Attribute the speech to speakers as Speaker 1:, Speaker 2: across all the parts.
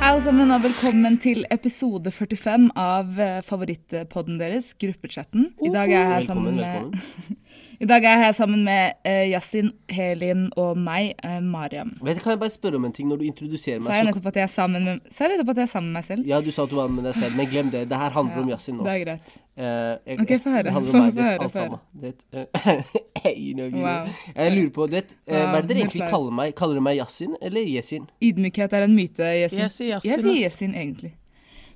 Speaker 1: alle sammen, og velkommen til episode 45 av eh, favorittpodden deres, Gruppechatten. I dag er jeg her sammen
Speaker 2: Velkommen,
Speaker 1: med,
Speaker 2: velkommen.
Speaker 1: I dag er jeg her sammen med eh, Yasin, Helin og meg, eh, Mariam.
Speaker 2: Vet du, Kan jeg bare spørre om en ting når du introduserer
Speaker 1: Sa jeg
Speaker 2: meg? Så,
Speaker 1: nettopp at jeg er sammen med, sa jeg nettopp at jeg er sammen med meg selv?
Speaker 2: ja, du sa at du var med deg selv, men glem det. Det her handler om Yasin nå.
Speaker 1: Det er greit.
Speaker 2: Eh, jeg,
Speaker 1: Ok, få høre.
Speaker 2: Det handler
Speaker 1: Få-
Speaker 2: om meg,
Speaker 1: få
Speaker 2: du vet,
Speaker 1: høre,
Speaker 2: alt
Speaker 1: få høre.
Speaker 2: sammen. Du vet, eh, you know, you know.
Speaker 1: Wow.
Speaker 2: Jeg lurer på, du vet, eh, hva er det dere
Speaker 1: Wow,
Speaker 2: egentlig
Speaker 1: beklager.
Speaker 2: kaller meg? Kaller dere meg Yasin eller Yesin?
Speaker 1: Ydmykhet er en myte, Yasin.
Speaker 3: Jeg sier Yasin,
Speaker 1: Jeg sier
Speaker 3: ass.
Speaker 1: Yasin, egentlig.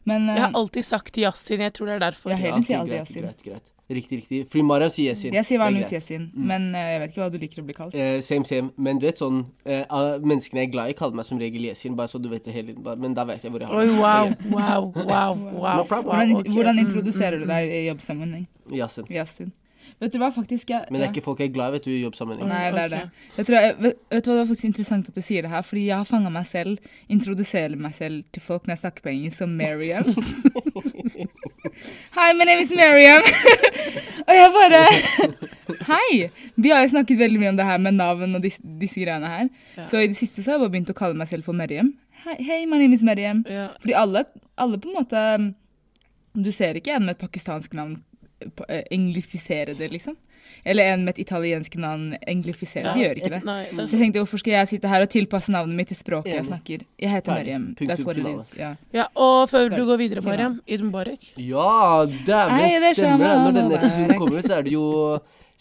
Speaker 1: Men eh,
Speaker 3: Jeg har alltid sagt Yasin, jeg tror det er derfor.
Speaker 1: Ja, helt.
Speaker 3: Ja,
Speaker 1: Helin sier alltid
Speaker 2: greit,
Speaker 1: Yasin.
Speaker 2: greit, greit. Riktig, riktig. Fordi Mariam sier Yesin.
Speaker 1: jeg sier vanligvis
Speaker 2: Det er greit. Mm.
Speaker 1: Yasin, men eh, jeg vet ikke hva du liker å bli kalt.
Speaker 2: Eh, same, same. Men du vet sånn, eh, av menneskene jeg er glad i, kaller meg som regel Yesin, bare så du vet det hele tiden. bare- Men da vet jeg hvor jeg har
Speaker 3: Oi,
Speaker 2: det.
Speaker 3: wow, wow, wow, wow.
Speaker 2: No problem.
Speaker 3: wow,
Speaker 1: Hvordan,
Speaker 3: ok.
Speaker 1: hvordan
Speaker 3: Mm.
Speaker 1: introduserer du deg i jobbsammenheng,
Speaker 2: Yasin.
Speaker 1: Yasin? Vet du hva, faktisk jeg,
Speaker 2: Men det er
Speaker 1: ja.
Speaker 2: ikke folk jeg er glad i, vet du, i jobbsammenheng.
Speaker 1: Nei, det er
Speaker 3: Ok.
Speaker 1: det. Jeg tror jeg, vet, vet du hva, Det var faktisk interessant at du sier det her, fordi jeg har fanga meg selv, introduserer meg selv til folk når jeg snakker på engelsk, som Mariam. Hi, my name is Mariam. og jeg bare Hei! Vi har jo snakket veldig mye om det her med navn og disse, disse greiene her. Så i det siste så har jeg bare begynt å kalle meg selv for Mariam. Hei, hey, my name is Mariam.
Speaker 3: Ja.
Speaker 1: Fordi alle, alle på en måte mm, Du ser ikke en med et pakistansk navn på- eh, englifisere det, liksom. Eller en med et italiensk navn englifisere det. De gjør ikke det. Mm.
Speaker 3: Nei, altså, det
Speaker 1: Så jeg tenkte, hvorfor skal jeg sitte her og tilpasse navnet mitt til språket jeg
Speaker 2: Enig.
Speaker 1: snakker? Jeg heter
Speaker 2: Ferdig.
Speaker 1: Mariam.
Speaker 2: Punktum
Speaker 1: That's what it
Speaker 2: finale.
Speaker 1: is. Ja.
Speaker 3: ja, og før du går videre, Mariam, Id Mubarak.
Speaker 2: Ja,
Speaker 1: Nei,
Speaker 2: dæven
Speaker 1: det skjer
Speaker 2: stemmer det. Når
Speaker 1: meg,
Speaker 2: denne
Speaker 1: det er-
Speaker 2: episoden kommer ut, så er det jo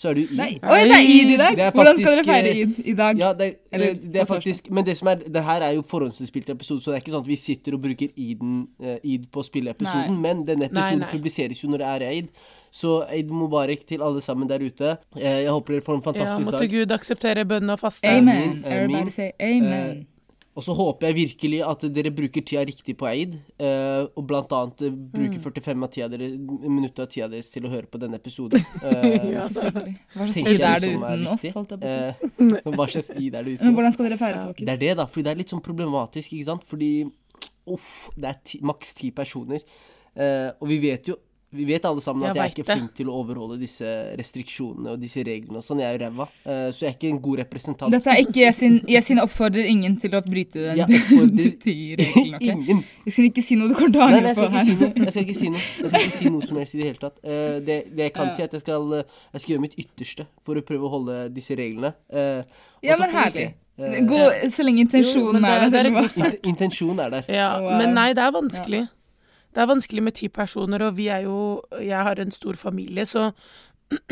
Speaker 2: Så er det jo
Speaker 1: Nei,
Speaker 2: i.
Speaker 1: oi, det er id i dag!
Speaker 2: Det er
Speaker 1: Hvordan skal dere
Speaker 2: faktisk,
Speaker 1: feire
Speaker 2: eh,
Speaker 1: id i dag?
Speaker 2: Ja, det, er-
Speaker 1: Eller,
Speaker 2: det er
Speaker 1: på torsdag.
Speaker 2: faktisk Men det som er Det her er jo forhåndsinnspilt episode, så det er ikke sånn at vi sitter og bruker iden, eh, id på å spille episoden, men denne episoden
Speaker 3: nei.
Speaker 2: publiseres jo når det er eid. Så eid mubarak til alle sammen der ute. Eh, Jeg håper dere får en
Speaker 3: Ja,
Speaker 2: fantastisk
Speaker 3: måtte
Speaker 2: dag.
Speaker 3: Gud akseptere bønnen og faste.
Speaker 1: Amen.
Speaker 2: Amin,
Speaker 1: Everybody
Speaker 2: amin.
Speaker 1: say amen.
Speaker 2: Og så håper jeg virkelig at dere bruker tida riktig på eid, eh, og blant annet eh,
Speaker 3: Mm.
Speaker 2: bruker 45 av tida dere, minutter av tida deres til å høre på denne episoden. Eh,
Speaker 3: Ja.
Speaker 1: Selvfølgelig. Hva slags
Speaker 2: tenker
Speaker 1: id er
Speaker 2: jeg
Speaker 1: det
Speaker 2: liksom
Speaker 1: uten oss,
Speaker 2: riktig.
Speaker 1: holdt jeg på å si.
Speaker 2: Eh, Hva slags id er det uten
Speaker 1: Men
Speaker 2: oss?
Speaker 1: hvordan skal dere feire,
Speaker 2: Det
Speaker 1: folkens?
Speaker 2: er det, da. Fordi det er litt sånn problematisk, ikke sant? Fordi uff, det er ti, maks ti personer. Eh, og vi vet jo vi vet alle sammen at
Speaker 3: Jeg
Speaker 2: jeg, er
Speaker 3: vet
Speaker 2: ikke
Speaker 3: det.
Speaker 2: flink til å overholde disse restriksjonene og disse reglene og sånn. Jeg er jo ræva. Eh, så jeg er ikke en god representant.
Speaker 1: Dette er ikke Yasin. Yasin oppfordrer ingen til å bryte den
Speaker 2: Jeg oppfordrer
Speaker 1: ti-regelen, OK?
Speaker 2: Ingen!
Speaker 1: Jeg skal ikke si noe du kommer til å
Speaker 2: Nei, nei,
Speaker 1: angre
Speaker 2: jeg
Speaker 1: på
Speaker 2: skal
Speaker 1: her.
Speaker 2: ikke si noe. Jeg skal ikke si noe, jeg skal ikke si noe som helst i det hele tatt. Eh, det, det jeg
Speaker 1: Ja.
Speaker 2: kan si, er at jeg skal, eh, jeg skal gjøre mitt ytterste for å prøve å holde disse reglene. Eh, og
Speaker 1: Ja,
Speaker 2: så
Speaker 1: men
Speaker 2: får vi se.
Speaker 1: herlig.
Speaker 2: Eh,
Speaker 1: Gå- så lenge
Speaker 3: Jo, men
Speaker 1: intensjonen
Speaker 3: det
Speaker 1: er der.
Speaker 3: er- det er
Speaker 1: eller
Speaker 3: en
Speaker 1: hva?
Speaker 3: god start.
Speaker 2: int- Intensjonen er der.
Speaker 3: Ja,
Speaker 1: Wow.
Speaker 3: men nei, det er vanskelig. Det er vanskelig med ti personer, og vi er jo Jeg har en stor familie, så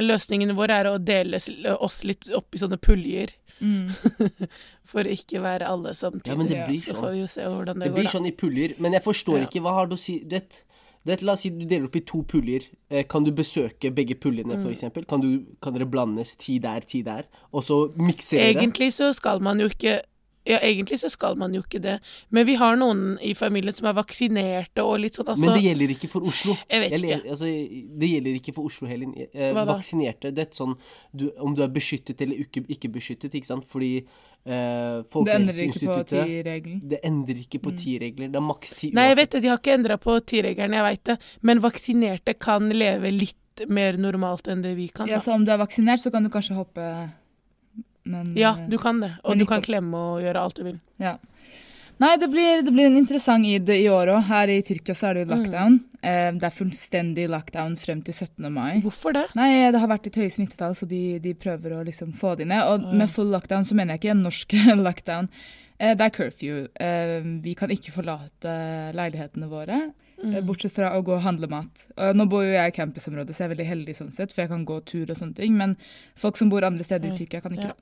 Speaker 3: løsningen vår er å dele s- oss litt opp i sånne puljer.
Speaker 1: Mm.
Speaker 3: For ikke være alle samtidig.
Speaker 2: Ja, men det
Speaker 1: Ja.
Speaker 2: blir
Speaker 3: Så
Speaker 2: sånn.
Speaker 3: får vi jo se hvordan det,
Speaker 2: Det
Speaker 3: går,
Speaker 2: blir
Speaker 3: da.
Speaker 2: sånn i puljer, men jeg forstår ikke Hva har du å si du vet, du vet, La oss si du deler opp i to puljer. Eh, Kan du besøke begge puljene,
Speaker 3: Mm.
Speaker 2: for eksempel? Kan, du, kan dere blandes ti der, ti der, og så miksere?
Speaker 3: Egentlig så skal man jo ikke ja, egentlig så skal man jo ikke det, men vi har noen i familien som er vaksinerte og litt sånn, altså.
Speaker 2: Men det gjelder ikke for Oslo.
Speaker 3: Jeg vet
Speaker 2: le-
Speaker 3: ikke.
Speaker 2: Altså, det gjelder ikke for Oslo, Helin. Eh,
Speaker 3: Hva da?
Speaker 2: vaksinerte, det er et sånn du, Om du er beskyttet eller ikke, ikke beskyttet, ikke sant? Fordi eh,
Speaker 1: Det endrer ikke på
Speaker 2: Folkehelseinstituttet
Speaker 1: ti-regelen.
Speaker 2: Det endrer ikke på ti regler. Det er maks ti
Speaker 3: Mm. Nei, jeg vet det, de har ikke endra på tiregelen, jeg veit det, men vaksinerte kan leve litt mer normalt enn det vi kan.
Speaker 1: Ja, sånn,
Speaker 3: Da.
Speaker 1: så om du er vaksinert, så kan du kanskje hoppe, men
Speaker 3: Ja,
Speaker 1: eh,
Speaker 3: du kan det, og
Speaker 1: Men
Speaker 3: du
Speaker 1: ikke-
Speaker 3: kan klemme og gjøre alt du vil.
Speaker 1: ja. Nei, det blir, det blir en interessant id i år òg. Her i Tyrkia så er det jo
Speaker 3: Mm.
Speaker 1: lockdown. Eh, Det er fullstendig lockdown frem til 17. mai.
Speaker 3: Hvorfor det?
Speaker 1: Nei, det har vært litt høye smittetall, så de, de prøver å liksom få de ned. Og med full lockdown så mener jeg ikke en norsk lockdown. Eh, Det er curfew. Eh, Vi kan ikke forlate leilighetene våre, eh, bortsett fra å gå og handle mat. Og Nå bor jo jeg i campusområdet, så jeg er veldig heldig sånn sett, for jeg kan gå tur og sånne ting. Men folk som bor andre steder i Tyrkia, kan ikke
Speaker 3: Ja.
Speaker 1: det.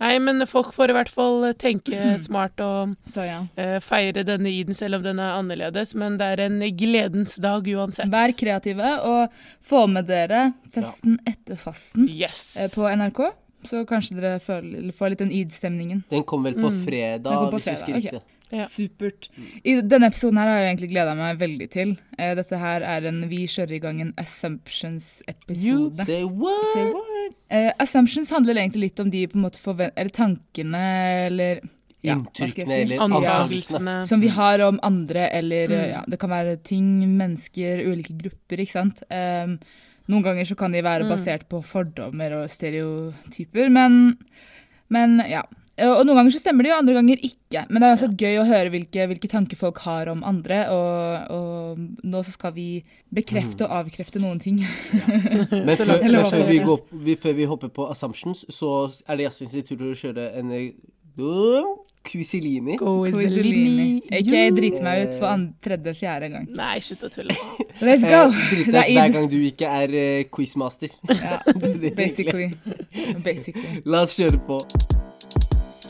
Speaker 3: Nei, men folk får i hvert fall eh, tenke smart og
Speaker 1: Så ja.
Speaker 3: eh, feire denne iden selv om den er annerledes, men det er en gledens dag uansett.
Speaker 1: Vær kreative, og få med dere festen etter fasten
Speaker 3: Yes!
Speaker 1: eh, på NRK. Så kanskje dere føler, eller får litt den id-stemningen.
Speaker 2: Den kom vel på
Speaker 1: Mm.
Speaker 2: fredag,
Speaker 1: kom på
Speaker 2: hvis jeg
Speaker 1: fredag,
Speaker 2: husker
Speaker 1: ok.
Speaker 2: riktig.
Speaker 3: Ja.
Speaker 1: Supert. I denne episoden her har jeg egentlig gleda meg veldig til. Eh, Dette her er en Vi kjører i gang en Assumptions-episode.
Speaker 2: Say what?
Speaker 1: Say what? Eh, assumptions handler egentlig litt om de på en måte forven eller tankene eller ja, hva skal jeg
Speaker 2: Inntrykkene
Speaker 1: si?
Speaker 2: eller antakelsene.
Speaker 3: Antakelsene.
Speaker 1: som vi har om andre, eller
Speaker 2: Mm.
Speaker 1: eh, ja, det kan være ting, mennesker, ulike grupper, ikke sant. Ehm, noen ganger
Speaker 2: Mm.
Speaker 1: så kan de være basert på fordommer og stereotyper, men, men ja. Og noen ganger så stemmer det jo, andre ganger ikke. Men det er også gøy å høre hvilke, hvilke tanker folk har om andre. Og, og nå så skal vi bekrefte
Speaker 2: Mm.
Speaker 1: og avkrefte noen ting.
Speaker 2: Men
Speaker 3: Så
Speaker 2: før,
Speaker 3: langt-
Speaker 2: men
Speaker 1: eller hva
Speaker 2: før,
Speaker 1: var
Speaker 2: vi
Speaker 1: det?
Speaker 2: går, vi, før vi hopper på assumptions, så er det jazzinstituttet tur til å kjøre en eh, Kvisilini.
Speaker 1: Kviselini. Ikke drite meg ut for andre, tredje, fjerde gang.
Speaker 3: Nei, slutt å tulle.
Speaker 1: Let's
Speaker 2: Eh,
Speaker 1: go!
Speaker 2: Drit
Speaker 1: Det
Speaker 2: deg ut
Speaker 1: er
Speaker 2: hver
Speaker 1: id.
Speaker 2: gang du ikke er eh, quizmaster.
Speaker 1: Ja,
Speaker 2: Det er det egentlig.
Speaker 1: basically. basically.
Speaker 2: La oss kjøre på.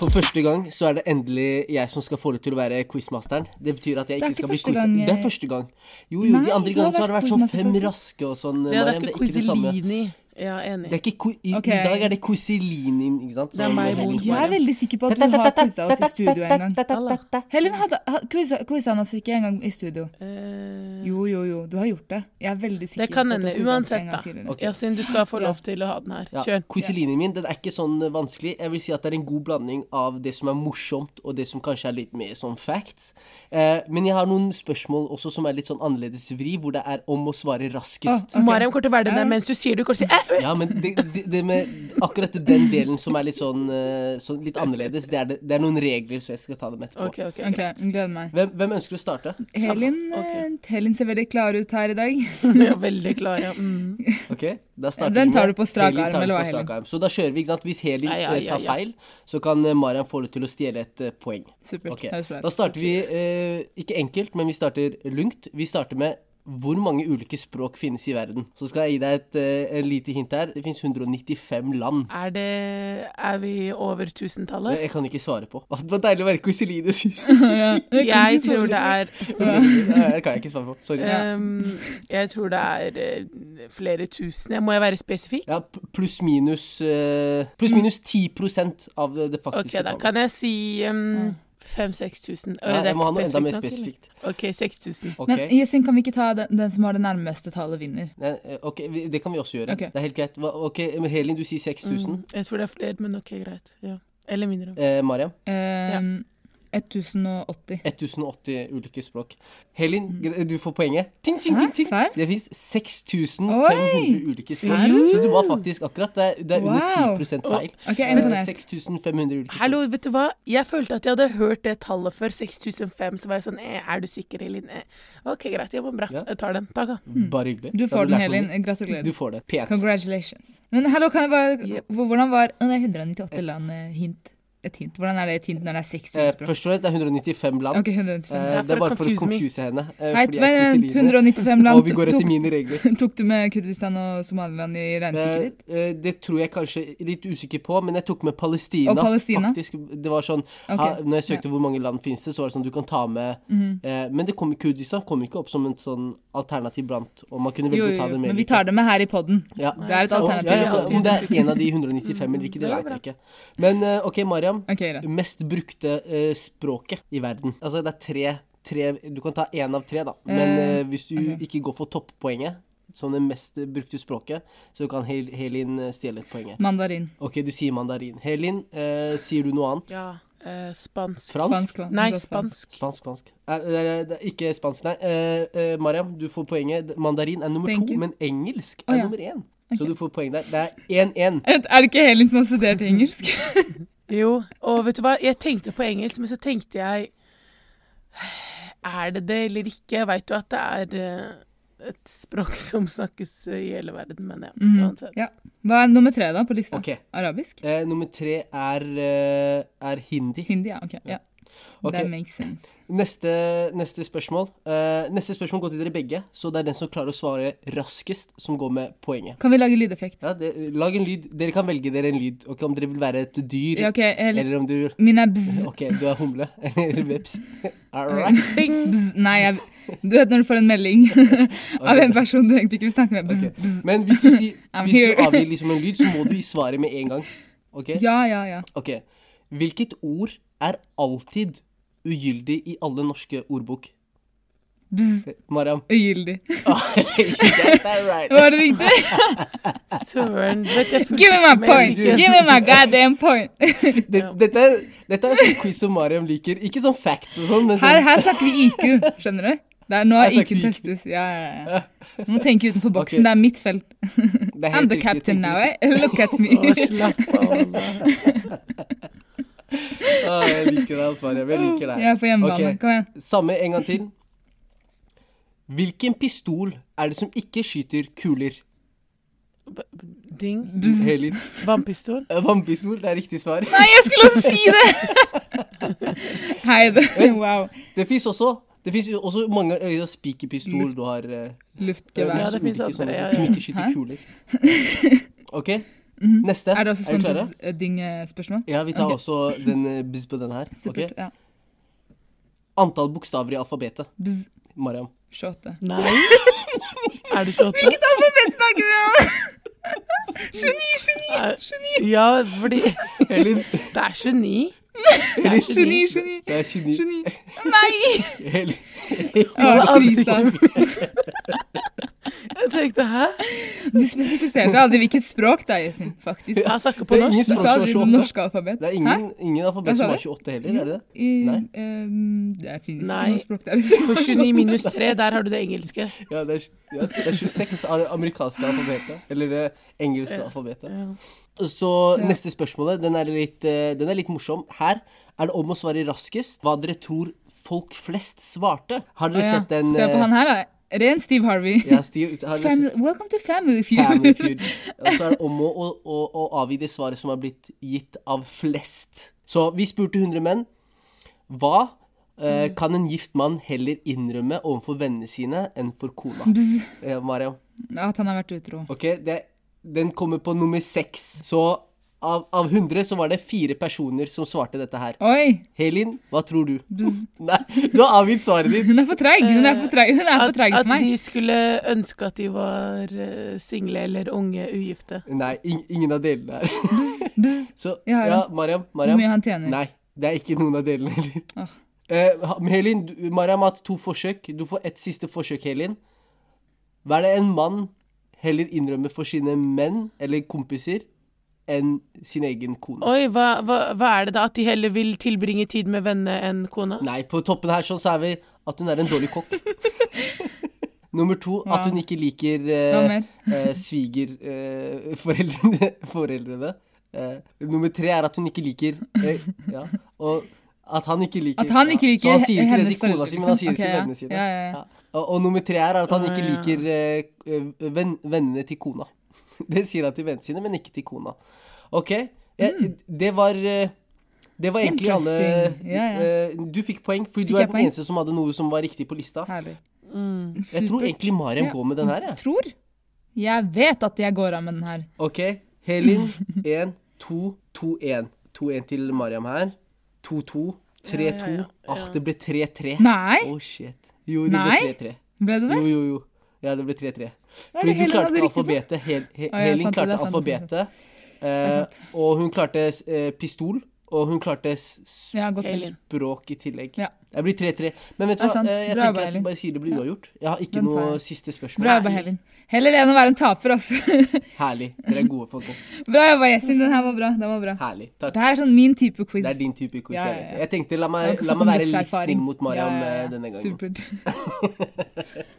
Speaker 2: For første gang så er det endelig jeg som skal få det til å være quizmasteren. Det betyr at jeg
Speaker 1: Det er
Speaker 2: ikke,
Speaker 1: ikke
Speaker 2: skal bli
Speaker 1: første
Speaker 2: quiz...
Speaker 1: gang, eh.
Speaker 2: Det er første gang. Jo, jo,
Speaker 1: Nei,
Speaker 2: de andre
Speaker 1: du har
Speaker 2: gangene så har det
Speaker 1: vært
Speaker 2: vært sånn
Speaker 1: quizmaster
Speaker 2: fem
Speaker 1: før.
Speaker 2: raske og sånn.
Speaker 3: Det er
Speaker 2: Mariam,
Speaker 3: ikke
Speaker 2: det samme.
Speaker 3: Kviselini. Ja,
Speaker 2: Det
Speaker 3: enig.
Speaker 2: er ikke qui- i,
Speaker 1: Ok.
Speaker 2: I dag er det Quisilinin, ikke sant?
Speaker 3: Det er meg mot
Speaker 1: Jeg er veldig sikker på at du har quiza oss i studio en gang. Helen hadde ha- quiza quiza oss ikke en gang i studio.
Speaker 3: Eh,
Speaker 1: Jo, jo, jo. Du har gjort det. Jeg er veldig sikker.
Speaker 3: Det kan
Speaker 1: på at du
Speaker 3: hende.
Speaker 1: quiza oss en
Speaker 3: Uansett,
Speaker 1: gang
Speaker 3: da.
Speaker 1: tidligere.
Speaker 2: Ok.
Speaker 3: Yasin, du skal få
Speaker 1: Ja.
Speaker 3: lov til å ha den her.
Speaker 2: Ja,
Speaker 3: Kjør.
Speaker 2: Quisilinin min den er ikke sånn eh, vanskelig. Jeg vil si at det er en god blanding av det som er morsomt, og det som kanskje er litt mer sånn facts. Eh, men jeg har noen spørsmål også som er litt sånn annerledes vri, hvor det er om å svare raskest.
Speaker 1: Ok.
Speaker 3: Mariam kommer til å være den der mens du sier det. Du kommer til å si eh,
Speaker 2: Ja, men det, det, det med akkurat den delen som er litt sånn, eh, sånn litt annerledes, det er, det, det er noen regler, så jeg skal ta dem etterpå.
Speaker 3: OK, Eh! OK.
Speaker 1: Ok, jeg gleder meg.
Speaker 2: Hvem, hvem ønsker å starte?
Speaker 1: Helin,
Speaker 3: ok.
Speaker 1: eh, Helin ser veldig klar ut her i dag.
Speaker 3: Vi er veldig klar, ja. Mm.
Speaker 2: Ok, da starter
Speaker 1: Den
Speaker 2: vi med
Speaker 1: tar du på strak
Speaker 2: Helin
Speaker 1: arm,
Speaker 2: tar du
Speaker 1: eller
Speaker 2: på
Speaker 1: hva, Helin?
Speaker 2: strak arm. Så da kjører vi, ikke sant. Hvis Helin
Speaker 3: Ja, ja,
Speaker 2: eh,
Speaker 3: ja,
Speaker 2: tar
Speaker 3: ja.
Speaker 2: feil, så kan eh, Mariam få det til å stjele et eh, poeng.
Speaker 1: Supert.
Speaker 2: Ok,
Speaker 1: Høres bra ut.
Speaker 2: Da starter vi eh, ikke enkelt, men vi starter lungt. Vi starter med hvor mange ulike språk finnes i verden? Så skal jeg gi deg et eh, en lite hint her. Det finnes 195 land.
Speaker 3: Er det Er vi over
Speaker 2: Det-
Speaker 3: tusentallet?
Speaker 2: Jeg kan ikke svare på. Det var deilig å være Quiseline, sier
Speaker 1: Ja, jeg kan
Speaker 3: Jeg
Speaker 1: ikke
Speaker 3: tror det
Speaker 1: svare.
Speaker 3: er
Speaker 2: Nei, Det kan jeg ikke svare på. Sorry.
Speaker 3: ehm, Jeg tror det er eh, flere tusen. Jeg må jeg være spesifikk?
Speaker 2: Ja, p- pluss minus eh, Pluss minus 10 av det, det
Speaker 3: OK,
Speaker 2: faktiske
Speaker 3: da
Speaker 2: tallet.
Speaker 3: kan jeg si um, 5000-6000.
Speaker 2: Nei, jeg må ha noe enda mer spesifikt.
Speaker 3: OK, 6000.
Speaker 2: Ok,
Speaker 1: Men Yasin, kan vi ikke ta den, den som har det nærmeste tallet, vinner?
Speaker 2: Nei, eh, ok, vi- det kan vi også gjøre.
Speaker 1: Ok.
Speaker 2: Det er helt greit. Hva- Ok, men Helin, du sier 6000.
Speaker 3: Mm, jeg tror det er flere, men OK, greit. Ja. Eller
Speaker 1: Mm.
Speaker 3: mindre.
Speaker 2: Eh, Mariam,
Speaker 1: Ehm, 1080.
Speaker 2: 1080 ulike språk. Helin, gre- du får poenget. Ting, ting, ting, ting.
Speaker 1: Mm. Serr?
Speaker 2: Det fins 6500
Speaker 1: Oi!
Speaker 2: ulike
Speaker 1: Serr?
Speaker 2: språk. Så du var faktisk akkurat Det er, det er
Speaker 1: Wow.
Speaker 2: under 10 feil.
Speaker 1: OK, jeg er
Speaker 2: Men
Speaker 1: imponert.
Speaker 2: 6500 ulike språk.
Speaker 3: Hallo, vet du hva? Jeg følte at jeg hadde hørt det tallet før. 6005. Så var jeg sånn eh, Er du sikker, Elin? Eh, OK, greit. Ja, men bra.
Speaker 2: Ja.
Speaker 3: Jeg tar den. Takk, da.
Speaker 2: Mm. Bare hyggelig.
Speaker 1: Du
Speaker 2: Da
Speaker 1: får
Speaker 2: har
Speaker 1: den,
Speaker 2: lært noe
Speaker 1: Helin.
Speaker 2: nytt.
Speaker 1: Gratulerer.
Speaker 2: Du får det. Pent.
Speaker 1: Congratulations. Men hallo, kan jeg bare
Speaker 3: Yep.
Speaker 1: hvor- Hvordan var Å, det er 198 land eh, hint? Et hint. Hvordan er det et hint når det er 6000
Speaker 2: Eh,
Speaker 1: språk?
Speaker 2: først og fremst, det er 195 land.
Speaker 1: OK, 195.
Speaker 2: Eh,
Speaker 3: er
Speaker 2: det
Speaker 3: for
Speaker 2: er
Speaker 3: å
Speaker 2: bare for å
Speaker 3: confuse me.
Speaker 2: confuse henne. eh,
Speaker 1: Hei,
Speaker 2: fordi jeg er
Speaker 1: vent,
Speaker 2: Kviseline,
Speaker 1: 195 land.
Speaker 2: Og vi går etter
Speaker 1: Tok,
Speaker 2: mine regler.
Speaker 1: tok du med Kurdistan og Somaliland i regnestykket
Speaker 2: Eh,
Speaker 1: ditt?
Speaker 2: eh, det tror jeg kanskje Litt usikker på, men jeg tok med Palestina.
Speaker 1: Og Palestina?
Speaker 2: Faktisk, det var sånn
Speaker 1: Ok, Mhm.
Speaker 2: ha, Når jeg søkte hvor mange land finnes det, så var det sånn du kan ta med eh, Men det kom, Kurdistan kom ikke opp som en sånn alternativ blant, og man kunne
Speaker 1: Jo,
Speaker 2: velge
Speaker 1: jo,
Speaker 2: å ta det
Speaker 1: jo,
Speaker 2: med.
Speaker 1: men
Speaker 2: eller
Speaker 1: vi tar det med her i poden.
Speaker 2: ikke. ja.
Speaker 1: Det er et
Speaker 3: sant.
Speaker 1: alternativ.
Speaker 2: Ja, ja,
Speaker 3: alltid.
Speaker 2: om det er en av de 195 eller ikke, det
Speaker 3: Det er
Speaker 2: vet jeg ikke. Men eh, OK, Mariam.
Speaker 1: OK, greit.
Speaker 2: Mest brukte eh, språket i verden. Altså, det er tre, tre Du kan ta én av tre, da. Men
Speaker 1: Eh,
Speaker 2: eh, hvis du ikke går for toppoenget, som det mest brukte språket, så kan Hel Helin eh, stjele et poenget.
Speaker 1: Mandarin.
Speaker 2: OK, du sier mandarin. Helin, eh, sier du noe annet?
Speaker 3: Ja. eh, spansk.
Speaker 2: Fransk?
Speaker 1: Spansk. da.
Speaker 3: Nei,
Speaker 1: Det var
Speaker 3: spansk.
Speaker 2: Spansk, spansk. Eh, eh, det er ikke spansk, nei. Eh, eh, Mariam, du får poenget. D- Mandarin er nummer
Speaker 1: Thank
Speaker 2: to,
Speaker 1: you.
Speaker 2: men engelsk
Speaker 1: Å,
Speaker 2: er
Speaker 1: ja.
Speaker 2: nummer én. Så du får poeng der. Det er 1-1.
Speaker 1: Vent, Er det ikke Helin som har studert engelsk?
Speaker 3: Jo. Og vet du hva? Jeg tenkte på engelsk, men så tenkte jeg Er det det eller ikke? Jeg veit jo at det er eh, et språk som snakkes eh, i hele verden, men ja.
Speaker 1: Mhm.
Speaker 3: Uansett.
Speaker 1: ja. Hva er nummer tre da på lista?
Speaker 2: Ok.
Speaker 1: Arabisk?
Speaker 2: Eh, nummer tre er, eh, er hindi.
Speaker 1: Hindi, ja. OK. Ja.
Speaker 2: Ok.
Speaker 1: That makes sense.
Speaker 2: Neste, neste spørsmål. Eh, neste spørsmål går til dere begge, så det er den som klarer å svare raskest, som går med poenget.
Speaker 1: Kan vi lage lydeffekt?
Speaker 2: Ja, det, lag en lyd. Dere kan velge dere en lyd. Ok, om dere vil være et dyr,
Speaker 1: Ja, OK, Helin.
Speaker 2: eller om du
Speaker 1: Min er bzz.
Speaker 2: Ok, du er humle eller veps. All right.
Speaker 3: Bing!
Speaker 1: Bzz, nei, jeg, du vet når du får en melding av en person du egentlig ikke vil snakke med. Bzz,
Speaker 2: Ok.
Speaker 1: bzz.
Speaker 2: Men hvis du, sier-
Speaker 1: I'm
Speaker 2: hvis du
Speaker 1: here.
Speaker 2: avgir liksom en lyd, så må du gi svaret med en gang. Ok?
Speaker 1: Ja, ja, ja.
Speaker 2: Ok. Hvilket ord er alltid ugyldig i alle norske ordbok?
Speaker 1: Bzz.
Speaker 2: Mariam.
Speaker 1: Ugyldig.
Speaker 2: That's all right.
Speaker 1: Var det riktig?
Speaker 3: Søren. Vet jeg fulgte
Speaker 1: Give me my
Speaker 3: ikke med.
Speaker 1: point! Give me my goddamn point!
Speaker 2: Altså- Det, dette, er, dette er sånn quiz som Mariam liker. Ikke sånn facts og sånn, men
Speaker 1: Her,
Speaker 2: sånn
Speaker 1: her snakker vi IQ, skjønner du? Det er nå
Speaker 2: Her
Speaker 1: IQ
Speaker 2: snakker vi IQ.
Speaker 1: testes. Ja, ja, ja. Må tenke utenfor boksen.
Speaker 2: Ok.
Speaker 1: Det er mitt felt.
Speaker 2: det
Speaker 1: I'm
Speaker 2: er helt
Speaker 1: the eh?
Speaker 2: riktig,
Speaker 1: captain
Speaker 2: tenker
Speaker 1: now,
Speaker 2: du.
Speaker 1: eh? Look at me.
Speaker 3: Å, slapp av. Ola.
Speaker 2: Ah, jeg liker deg, Asfaria. Jeg liker deg.
Speaker 1: Jeg er på hjemmebane.
Speaker 2: Ok.
Speaker 1: Kom igjen.
Speaker 2: Samme en gang til. Hvilken pistol er det som ikke skyter kuler?
Speaker 3: B- b- Ding.
Speaker 2: Helin.
Speaker 3: Vannpistol.
Speaker 2: Eh, Vannpistol, det er riktig svar.
Speaker 1: Nei, jeg skulle også si det! Hei, det. Wow.
Speaker 2: Det fins også det finnes jo også mange øyne spikerpistol du har eh,
Speaker 1: Luftgevær.
Speaker 3: Ja, det
Speaker 2: som
Speaker 3: finnes
Speaker 2: ikke
Speaker 3: andre,
Speaker 2: sånne-
Speaker 3: ja, ja.
Speaker 2: Som ikke skyter
Speaker 1: Hæ?
Speaker 2: kuler. OK, neste.
Speaker 1: Er det også
Speaker 2: er
Speaker 1: sånn
Speaker 2: du klare?
Speaker 1: dis- ding-spørsmål?
Speaker 2: Ja, vi tar
Speaker 1: Ok.
Speaker 2: også den eh, bzz på den her. ok?
Speaker 1: eh, Supert. Ja.
Speaker 2: Antall bokstaver i alfabetet.
Speaker 1: Bzz.
Speaker 2: Mariam.
Speaker 1: 28.
Speaker 3: Nei. Er du 28?
Speaker 1: Alfabet snakker vi om! Geni, geni,
Speaker 3: Er-
Speaker 1: geni!
Speaker 3: Ja, fordi
Speaker 2: Helin.
Speaker 3: Det er 29. Det er
Speaker 1: Geni, geni,
Speaker 2: Det er geni.
Speaker 1: geni. Nei!
Speaker 2: Helin.
Speaker 1: Å,
Speaker 3: ansiktet
Speaker 1: Kristoffer.
Speaker 3: Jeg tenkte hæ?
Speaker 1: Du spesifiserte aldri hvilket språk det er, Jessin. Faktisk.
Speaker 3: Jeg snakker
Speaker 2: Det
Speaker 3: på
Speaker 2: er ingen
Speaker 3: norsk.
Speaker 1: Du sa
Speaker 2: språk som er
Speaker 1: aldri
Speaker 2: 28.
Speaker 1: norsk alfabet.
Speaker 2: Det er
Speaker 1: Hæ?
Speaker 2: ingen, ingen alfabet
Speaker 1: Hva sa
Speaker 2: som er
Speaker 1: du?
Speaker 2: 28 heller, er det det?
Speaker 1: I,
Speaker 2: Nei.
Speaker 1: ehm, det finnes
Speaker 3: Nei.
Speaker 1: ikke noe språk der.
Speaker 3: For 29 minus 3, der har du det engelske.
Speaker 1: Mm.
Speaker 2: Ja, det er, ja, det er 26 av det amerikanske alfabetet. Eller det engelske alfabetet.
Speaker 3: Ja.
Speaker 2: Så
Speaker 1: Ja.
Speaker 2: neste spørsmålet, den er, litt, eh, den er litt morsom. Her er det om å svare raskest hva dere tror folk flest svarte. Har
Speaker 1: Å,
Speaker 2: dere
Speaker 1: ja.
Speaker 2: sett den
Speaker 1: Se på
Speaker 2: eh,
Speaker 1: han her, da. Ren Steve Harvey.
Speaker 2: Ja, Steve, har dere
Speaker 1: Family,
Speaker 2: sett
Speaker 1: welcome to family feud.
Speaker 2: Family Feud? Og så er det om å, å, å, å avgi det svaret som er blitt gitt av flest. Så vi spurte 100 menn. Hva
Speaker 1: Mm.
Speaker 2: eh, kan en gift mann heller innrømme overfor vennene sine enn for kona?
Speaker 1: Bzz.
Speaker 2: Eh, Mariam.
Speaker 1: At han har vært utro.
Speaker 2: Ok, det, den kommer på nummer seks. Så av, av 100 så var det fire personer som svarte dette her.
Speaker 1: Oi!
Speaker 2: Helin, hva tror du?
Speaker 1: Bzz.
Speaker 2: Nei, du har avgitt svaret ditt.
Speaker 1: Hun er for treig! Hun er for treig Hun er for
Speaker 3: At,
Speaker 1: treig
Speaker 3: at
Speaker 1: for meg.
Speaker 3: de skulle ønske at de var eh, single eller unge ugifte.
Speaker 2: Nei, ing, ingen av delene her.
Speaker 1: Bzz.
Speaker 2: Så
Speaker 1: Jeg har
Speaker 2: ja, Mariam.
Speaker 1: Hvor
Speaker 2: Mariam.
Speaker 1: mye han tjener.
Speaker 2: Nei, det er ikke noen av delene, Helin.
Speaker 1: Ah.
Speaker 2: Eh, ha- men Helin, du, Mariam har hatt to forsøk. Du får ett siste forsøk, Helin. Hva er det en mann heller innrømmer for sine menn eller kompiser enn sin egen kone?
Speaker 3: Oi, hva, hva, hva er det da? At de heller vil tilbringe tid med venner enn kona?
Speaker 2: Nei, på toppen her sånn så er vi at hun er en dårlig kokk. Nummer to, at hun ikke liker
Speaker 1: Hva
Speaker 2: eh,
Speaker 1: mer?
Speaker 2: eh, svigerforeldrene. Eh, foreldrene, foreldrene. Eh, nummer tre er at hun ikke liker eh, ja, Og at han ikke liker
Speaker 1: At han ikke
Speaker 2: ja.
Speaker 1: liker
Speaker 2: Så han sier ikke det
Speaker 1: hennes
Speaker 2: til kona
Speaker 1: foreldre,
Speaker 2: si, men han
Speaker 1: liksom. Ok,
Speaker 2: sier det til
Speaker 1: ja.
Speaker 2: vennene sine.
Speaker 1: Ja, ja, ja.
Speaker 2: Og, og nummer tre er at han
Speaker 3: Å,
Speaker 2: ikke
Speaker 3: ja.
Speaker 2: liker eh, eh, venn, vennene til kona. Det sier han til vennene sine, men ikke til kona. OK. Jeg, Det var eh, det var egentlig alle
Speaker 1: Mm. Interesting. Ja, ja.
Speaker 2: eh, Du fikk poeng, for
Speaker 1: Fikk
Speaker 2: du er
Speaker 1: jeg
Speaker 2: den
Speaker 1: poeng?
Speaker 2: eneste som hadde noe som var riktig på lista.
Speaker 1: Herlig.
Speaker 2: ah. Jeg tror
Speaker 1: Supert.
Speaker 2: egentlig Mariam
Speaker 1: Ja.
Speaker 2: går med den her, jeg.
Speaker 1: Tror? Jeg vet at jeg går av med den her.
Speaker 2: OK. Helin 1, 2, 2, 1. 2-1 til Mariam her. 2-2. 3-2.
Speaker 3: Ja, ja, ja.
Speaker 2: Ah, det ble 3-3. Å,
Speaker 1: Nei!
Speaker 2: shit. Jo, det
Speaker 1: Nei?
Speaker 2: ble 3-3.
Speaker 1: Ble det det?
Speaker 2: Jo, jo, jo. Ja, det ble 3-3.
Speaker 1: er det
Speaker 2: Fordi du
Speaker 1: Helin
Speaker 2: klarte
Speaker 1: hadde
Speaker 2: ikke
Speaker 1: riktig på?
Speaker 2: alfabetet. Hel He-
Speaker 1: ja,
Speaker 2: Helin
Speaker 1: sant det,
Speaker 2: klarte
Speaker 1: det er sant, det er sant.
Speaker 2: alfabetet. eh, og hun klarte eh, pistol. Og hun klarte s- s-
Speaker 1: Ja, godt.
Speaker 3: Helin.
Speaker 2: språk i tillegg.
Speaker 1: Ja.
Speaker 2: Jeg blir 3-3. Men vet du
Speaker 1: Det er
Speaker 2: hva,
Speaker 1: sant.
Speaker 2: eh, jeg
Speaker 1: Bra
Speaker 2: tenker
Speaker 1: jobba,
Speaker 2: at vi
Speaker 1: Elin.
Speaker 2: bare sier det blir uavgjort. Jeg har ikke
Speaker 1: Den tar
Speaker 2: noe
Speaker 1: jeg.
Speaker 2: siste spørsmål.
Speaker 1: Bra jobba, Helin. Heller det enn å være en taper, altså.
Speaker 2: Herlig. Dere er gode folk. også.
Speaker 1: Bra jobba, Jessin. Den her var bra. Den var bra.
Speaker 2: Herlig. Takk.
Speaker 1: Det her er sånn min type quiz.
Speaker 2: Det er din type quiz.
Speaker 1: Ja, ja,
Speaker 2: Jeg vet
Speaker 1: ja.
Speaker 2: det. Jeg tenkte la
Speaker 1: Jeg har
Speaker 2: meg,
Speaker 1: ikke
Speaker 2: la
Speaker 1: fått
Speaker 2: meg være litt
Speaker 1: livserfaring.
Speaker 2: snill mot Mariam
Speaker 1: Ja, ja, ja.
Speaker 2: eh, denne gangen.
Speaker 1: Supert.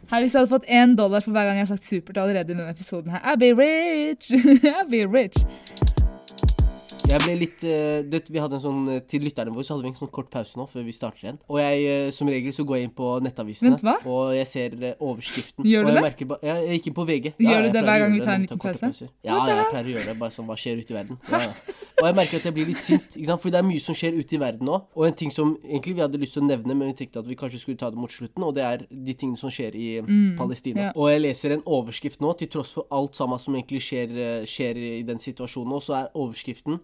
Speaker 1: Her, hvis jeg hadde fått én dollar for hver gang jeg har sagt supert allerede i denne episoden her I'll be rich! I'll be rich!
Speaker 2: Jeg ble litt eh, du vet, vi hadde en sånn, eh, Til lytterne våre så hadde vi en sånn kort pause nå før vi starter igjen. Og jeg, eh, som regel så går jeg inn på nettavisene
Speaker 1: Vent, hva?
Speaker 2: og jeg ser eh, overskriften.
Speaker 1: Gjør du
Speaker 2: og jeg
Speaker 1: det?
Speaker 2: merker ba- ja, jeg gikk inn på VG.
Speaker 1: Gjør du
Speaker 2: jeg
Speaker 1: det
Speaker 2: pleier
Speaker 1: hver
Speaker 2: å
Speaker 1: gang
Speaker 2: gjøre
Speaker 1: vi
Speaker 2: det
Speaker 1: tar en
Speaker 2: når vi
Speaker 1: liten
Speaker 2: korte
Speaker 1: pause?
Speaker 2: pauser. Ja, ja, jeg pleier å gjøre det. Bare sånn hva skjer ute i verden. Ja, ja. Og jeg merker at jeg blir litt sint, ikke sant? Fordi det er mye som skjer ute i verden nå. Og en ting som egentlig vi hadde lyst til å nevne, men vi tenkte at vi kanskje skulle ta det mot slutten, og det er de tingene som skjer i Palestina.
Speaker 1: Mm, ja.
Speaker 2: Og jeg leser en overskrift nå, til tross for alt sammen som egentlig skjer, eh, skjer i den situasjonen nå, så er overskriften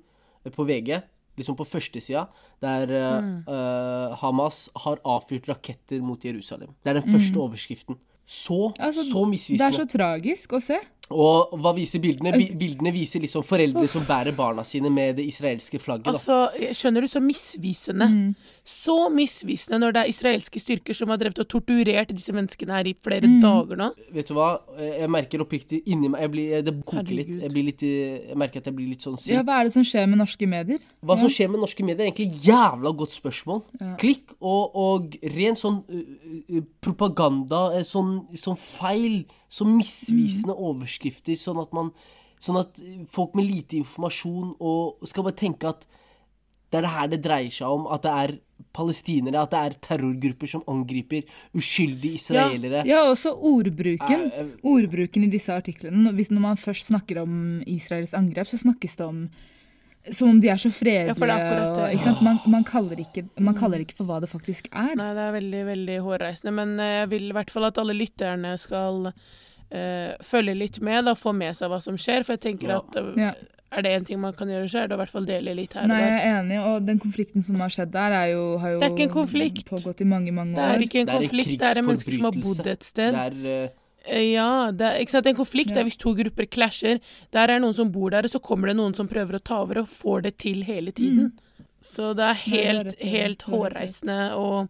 Speaker 2: eh, på VG, liksom på førstesida, der eh,
Speaker 1: Mm.
Speaker 2: eh, Hamas har avfyrt raketter mot Jerusalem. Det er den første overskriften. Så,
Speaker 1: Mm. Altså,
Speaker 2: så
Speaker 1: Det er
Speaker 2: misvisende.
Speaker 1: så tragisk å se.
Speaker 2: Og hva viser bildene? Bi- Bildene viser liksom foreldre som bærer barna sine med det israelske flagget. Da.
Speaker 3: Altså, jeg skjønner du, så misvisende.
Speaker 1: Mm.
Speaker 3: Så misvisende når det er israelske styrker som har drevet og torturert disse menneskene her i flere
Speaker 1: Mm.
Speaker 3: dager nå.
Speaker 2: Vet du hva? Eh, Jeg merker oppriktig inni meg jeg blir, Det koker litt.
Speaker 3: Herregud.
Speaker 2: Jeg, blir litt. eh, jeg merker at jeg blir litt sånn
Speaker 1: Ja,
Speaker 2: sint.
Speaker 1: hva er det som skjer med norske medier?
Speaker 2: Hva som skjer med norske medier, er egentlig et jævla godt spørsmål. Klikk og, og ren sånn eh, eh, propaganda, eh, sånn, sånn feil, sånn misvisende
Speaker 3: Mm.
Speaker 2: overskrifter, sånn at man Sånn at folk med lite informasjon og skal bare tenke at Det er det her det dreier seg om. At det er palestinere, at det er terrorgrupper som angriper uskyldige israelere.
Speaker 1: Ja, også ordbruken.
Speaker 2: Eh, eh.
Speaker 1: Ordbruken i disse artiklene. Når- Hvis når man først snakker om Israels angrep, så snakkes det om som om de er så fredelige.
Speaker 3: Ja, for det er akkurat det.
Speaker 1: og, ikke sant? Man, man, kaller ikke, man kaller det ikke for hva det faktisk er.
Speaker 3: Nei, det er veldig, veldig hårreisende. Men eh, jeg vil i hvert fall at alle lytterne skal eh, følge litt med, da, få med seg hva som skjer. For jeg tenker
Speaker 2: Ja.
Speaker 3: at eh,
Speaker 1: Ja.
Speaker 3: er det én ting man kan gjøre, så er det å i hvert fall dele litt her og
Speaker 1: Nei, jeg
Speaker 3: der.
Speaker 1: er enig, og den konflikten som har skjedd der, er jo, har jo
Speaker 3: Det er ikke en konflikt.
Speaker 1: pågått i mange, mange
Speaker 3: Det er
Speaker 1: år.
Speaker 3: ikke en
Speaker 2: Det er en
Speaker 3: konflikt, det er mennesker som har
Speaker 2: krigsforbrytelse.
Speaker 3: bodd et sted.
Speaker 2: Det er eh,
Speaker 3: Eh, Ja, det er, ikke sant? En konflikt
Speaker 1: Ja.
Speaker 3: er hvis to grupper klasjer. Der er noen som bor der, og så kommer det noen som prøver å ta over, og får det til hele tiden. Så det er
Speaker 1: Mm. det er
Speaker 3: helt,
Speaker 1: rett og slett.
Speaker 3: helt
Speaker 1: Det er rett og slett.
Speaker 3: hårreisende, og,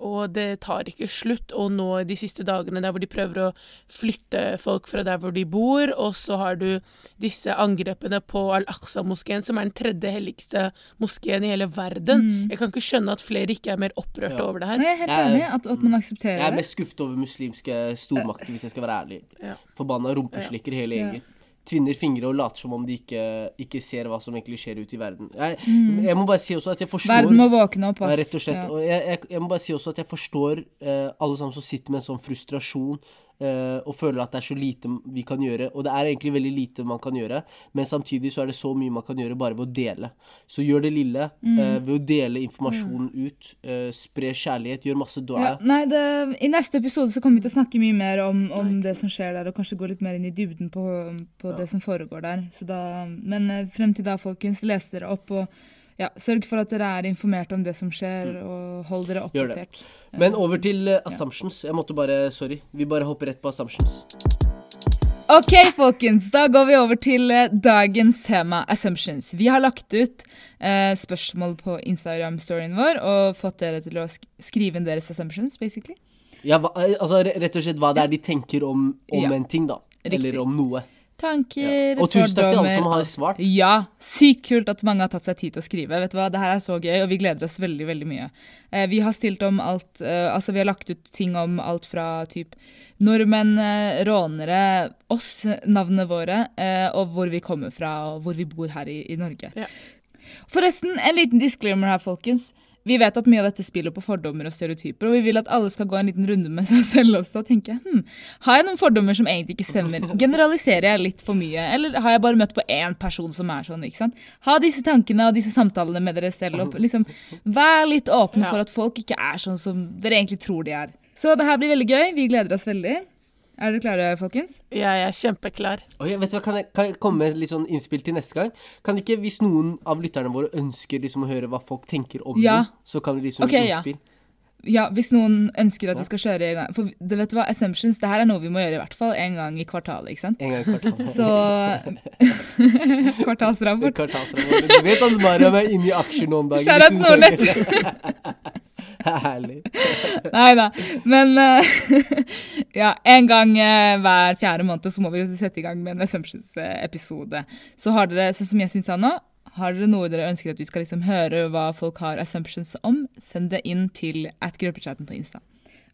Speaker 3: og det tar ikke slutt. Og nå de siste dagene der hvor de prøver å flytte folk fra der hvor de bor, og så har du disse angrepene på Al-Aqsa-moskeen, som er den tredje helligste moskeen i hele verden. Jeg kan ikke skjønne at flere ikke er mer opprørte
Speaker 2: Ja.
Speaker 3: over det her.
Speaker 1: Mm. Nei, jeg er helt
Speaker 2: Jeg er-
Speaker 1: enig at, at man aksepterer
Speaker 2: Jeg er
Speaker 1: det.
Speaker 2: mest skuffet over muslimske stormakter, hvis jeg skal være ærlig.
Speaker 3: Ja.
Speaker 2: Forbanna rumpeslikker hele
Speaker 1: Ja.
Speaker 2: gjengen. Tvinner fingre og later som om de ikke, ikke ser hva som egentlig skjer ute i verden. Jeg, jeg må bare si også at jeg
Speaker 1: Mm.
Speaker 2: forstår
Speaker 1: Verden må våkne opp,
Speaker 2: Ja,
Speaker 1: ass.
Speaker 2: Rett og slett.
Speaker 1: Ja.
Speaker 2: Og jeg, jeg, jeg må bare si også at jeg forstår eh, alle sammen som sitter med en sånn frustrasjon eh, og føler at det er så lite vi kan gjøre. Og det er egentlig veldig lite man kan gjøre, men samtidig så er det så mye man kan gjøre bare ved å dele. Så gjør det lille
Speaker 1: Mm.
Speaker 2: eh, ved å dele informasjonen ut. eh, spre kjærlighet, gjør masse
Speaker 1: Ja,
Speaker 2: dua.
Speaker 1: nei, det, I neste episode så kommer vi til å snakke mye mer om, om det som skjer der, og kanskje gå litt mer inn i dybden på, på det som foregår der. Så da, men eh, frem til da, folkens, les dere opp og ja, sørg for at dere er informert om det som skjer, og hold dere
Speaker 2: Mm. Gjør det.
Speaker 1: oppdatert.
Speaker 2: Men over til eh, assumptions. Jeg måtte bare Sorry. Vi bare hopper rett på assumptions.
Speaker 1: Ok, folkens. Da går vi over til eh, dagens tema, assumptions. Vi har lagt ut eh, spørsmål på Instagram-storyen vår og fått dere til å sk skrive inn deres assumptions, basically.
Speaker 2: Ja, hva, eh, altså re- rett og slett hva det er de tenker om, om
Speaker 1: Ja.
Speaker 2: en ting, da.
Speaker 1: Riktig.
Speaker 2: Eller om noe.
Speaker 1: Tanker,
Speaker 2: Og tusen takk til alle
Speaker 1: fordommer,
Speaker 2: som har svart.
Speaker 1: Ja, sykt kult at mange har tatt seg tid til å skrive. Vet du hva, Det her er så gøy, og vi gleder oss veldig veldig mye. Eh, vi har stilt om alt eh, Altså, vi har lagt ut ting om alt fra typ nordmenn, eh, rånere, oss, navnene våre, eh, og hvor vi kommer fra, og hvor vi bor her i, i Norge.
Speaker 3: Ja.
Speaker 1: Forresten, en liten disclaimer her, folkens. Vi vet at mye av dette spiller på fordommer og stereotyper, og vi vil at alle skal gå en liten runde med seg selv også og tenke hm, har jeg noen fordommer som egentlig ikke stemmer? Generaliserer jeg litt for mye, eller har jeg bare møtt på én person som er sånn? ikke sant? Ha disse tankene og disse samtalene med dere selv. Og liksom, vær litt åpne
Speaker 3: Ja.
Speaker 1: for at folk ikke er sånn som dere egentlig tror de er. Så det her blir veldig gøy. Vi gleder oss veldig. Er dere klare, folkens?
Speaker 3: Jeg er kjempeklar.
Speaker 2: Oi, vet du hva, kan jeg, kan jeg komme med litt sånn innspill til neste gang? Kan ikke, Hvis noen av lytterne våre ønsker liksom å høre hva folk tenker om
Speaker 1: Ja.
Speaker 2: den, så kan vi liksom
Speaker 1: Ok,
Speaker 2: gi
Speaker 1: ja.
Speaker 2: innspill.
Speaker 1: Ja, hvis noen ønsker at vi skal kjøre i gang For det, vet du hva, assumptions, det her er noe vi må gjøre i hvert fall en gang i kvartalet, ikke sant?
Speaker 2: En gang i kvartalet.
Speaker 1: Så Kvartalsrapport.
Speaker 2: Kvartalsrapport. altså. Du vet at Mariam er inne i aksjer noen dager.
Speaker 1: Shout out
Speaker 2: Synes
Speaker 1: Nordnett.
Speaker 2: det er Herlig.
Speaker 1: Nei da. Men eh, ja, en gang eh, hver fjerde måned så må vi jo sette i gang med en Assumptions-episode. Så har dere, sånn som jeg syns nå, har dere noe dere ønsker at vi skal liksom høre hva folk har assumptions om, send det inn til at gruppechatten på Insta.